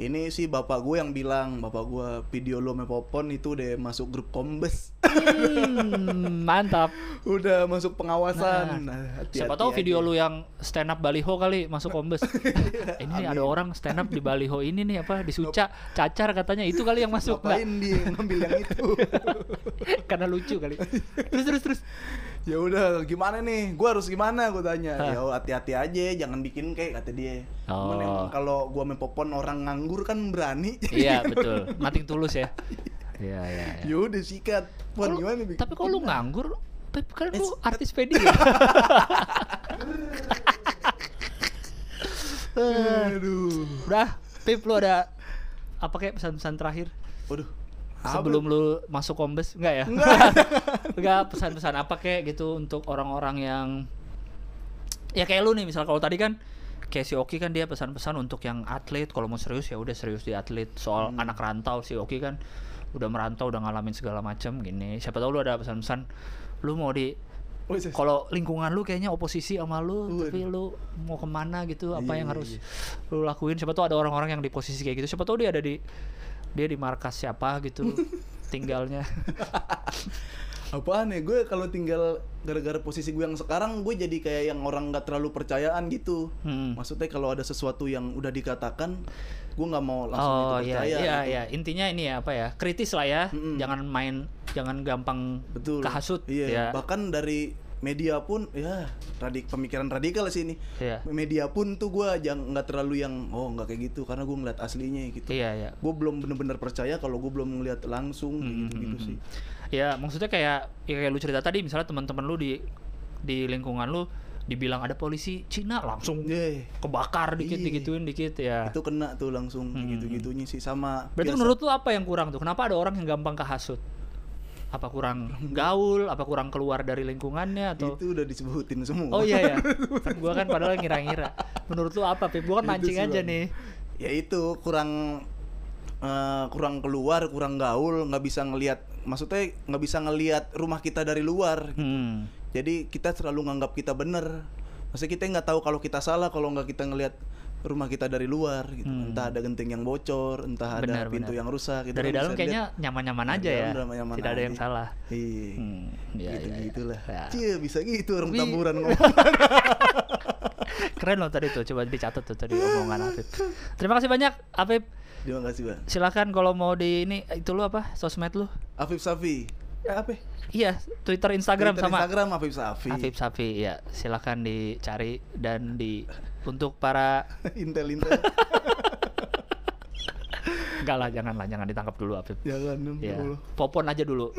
B: Ini sih bapak gue yang bilang, bapak gue video lo sama Popon itu udah masuk grup kombes,
A: Hmm, mantap.
B: udah masuk pengawasan. Nah,
A: Siapa tahu video lu yang stand up baliho kali masuk kombes. Ah, ini ada orang stand up di baliho ini nih apa di Suca cacar katanya itu kali yang masuk
B: ngapain dia ngambil yang itu?
A: nggak? Karena lucu kali. Terus terus terus.
B: ya udah, gimana nih? Gue harus gimana? Gue tanya.
A: Hah.
B: Ya hati-hati aja, jangan bikin kayak kata dia.
A: Oh.
B: Cuman emang kalau gue sama Popon orang nganggur kan berani.
A: Iya, betul. Nothing tulus ya. Iya, iya, iya.
B: ya udah sikat. Pon
A: Kalau-
B: gimana? Bi?
A: Tapi kalau lu nganggur, Pep, kan lu
B: It's-
A: artis pedi ya?
B: Aduh.
A: Udah, Pip lu ada apa kayak pesan-pesan terakhir
B: Waduh.
A: sebelum lu masuk kombes enggak ya?
B: Enggak.
A: Enggak pesan-pesan apa kayak gitu untuk orang-orang yang ya kayak lu nih misal kalau tadi kan kayak si Oki kan dia pesan-pesan untuk yang atlet kalau mau serius ya udah serius di atlet soal anak rantau si Oki kan udah merantau udah ngalamin segala macam gini siapa tahu lu ada pesan-pesan lu mau di
B: Oh, iya, iya.
A: kalau lingkungan lu kayaknya oposisi sama lu
B: Waduh.
A: tapi lu mau kemana gitu apa
B: Iya,
A: yang harus
B: iya,
A: lu lakuin siapa tahu ada orang-orang yang di posisi kayak gitu siapa tahu dia ada di dia di markas siapa gitu tinggalnya
B: Apaan ya gue kalau tinggal gara-gara posisi gue yang sekarang gue jadi kayak yang orang nggak terlalu percayaan gitu.
A: Hmm.
B: Maksudnya kalau ada sesuatu yang udah dikatakan gue nggak mau langsung
A: oh
B: itu
A: iya
B: percaya.
A: iya
B: gitu.
A: iya intinya ini ya apa ya kritis lah ya
B: Mm-mm.
A: jangan main jangan gampang
B: Betul.
A: kehasut
B: Iya.
A: ya
B: Bahkan dari media pun ya radik pemikiran radikal sih ini.
A: Iya.
B: Media pun tuh gue jangan nggak terlalu yang oh nggak kayak gitu karena gue ngeliat aslinya gitu.
A: iya iya Hmm,
B: Gue belum bener-bener percaya kalau gue belum ngeliat langsung kayak gitu-gitu sih.
A: ya maksudnya kayak ya kayak lu cerita tadi misalnya teman-teman lu di di lingkungan lu dibilang ada polisi Cina langsung
B: Yeay.
A: kebakar dikit
B: Iya.
A: digituin dikit ya.
B: Itu kena tuh langsung kayak
A: Hmm.
B: gitu-gitunya sih sama.
A: Berarti
B: biasa.
A: menurut lu apa yang kurang tuh? Kenapa ada orang yang gampang kehasut? Apa kurang gaul? Apa kurang keluar dari lingkungannya atau?
B: itu udah disebutin
A: Oh
B: semua.
A: iya ya. gua kan padahal ngira-ngira. Menurut lu apa, Pip? Gua kan
B: Itu
A: mancing
B: sih,
A: aja
B: Bang.
A: nih.
B: ya itu kurang eh, kurang keluar kurang gaul nggak bisa ngelihat maksudnya nggak bisa ngelihat rumah kita dari luar
A: Hmm.
B: jadi kita selalu nganggap kita bener maksudnya kita nggak tahu kalau kita salah kalau nggak kita ngelihat rumah kita dari luar gitu
A: Hmm.
B: entah ada genting yang bocor entah ada
A: Benar,
B: pintu
A: benar.
B: yang rusak gitu
A: dari
B: kan
A: dalam
B: bisa
A: kayaknya nyaman-nyaman
B: Dari
A: aja ya.
B: dalam nyaman-nyaman
A: Tidak ada yang
B: aja.
A: salah.
B: dilihat. iya
A: Hmm. Ya, ya,
B: gitu
A: ya.
B: gitulah
A: Ya.
B: cie bisa gitu orang
A: Tapi-
B: taburan ngomong
A: Keren loh tadi tuh. Coba dicatat tuh tadi omongan Afif. Terima kasih banyak Afif.
B: terima kasih bang
A: Silakan kalau mau di ini itu lu apa? Sosmed lu?
B: Afif Safi ya apa
A: Iya, Twitter, Instagram
B: Twitter,
A: sama.
B: Instagram Afif Safi
A: Afif Safi ya silakan dicari dan di untuk para
B: Intel Intel
A: enggak lah janganlah jangan ditangkap dulu Afif
B: jangan dong ya
A: ya
B: Allah.
A: popon aja dulu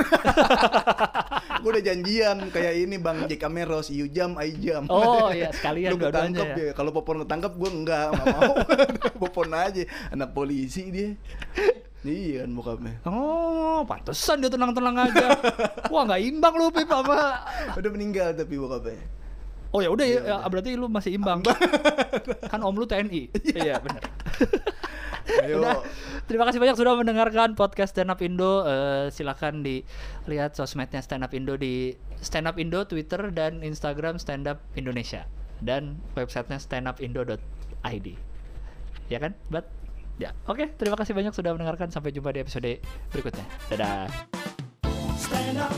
B: Gue udah janjian kayak ini Bang Jack Ameros, you jam, I jam.
A: Oh, iya, sekalian
B: Lu ketangkep
A: dua-duanya ya.
B: dia. Kalau Popon ketangkep gue enggak, enggak mau. Popon aja, anak polisi dia. Iya kan bokapnya.
A: oh pantesan dia tenang-tenang aja wah nggak imbang lu Pip sama
B: Udah meninggal tapi bokapnya.
A: oh ya udah ya,
B: Iya,
A: ya, berarti lu masih imbang kan om lu TNI iya benar
B: Ayo.
A: Udah. Terima kasih banyak sudah mendengarkan podcast Stand Up Indo. Eh, silakan dilihat sosmednya Stand Up Indo di Stand Up Indo Twitter dan Instagram Stand Up Indonesia dan websitenya standupindo.id. Ya kan, Bat? Ya. Oke, terima kasih banyak sudah mendengarkan. Sampai jumpa di episode berikutnya. Dadah.
C: Stand up.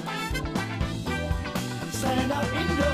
C: Stand up, Indo.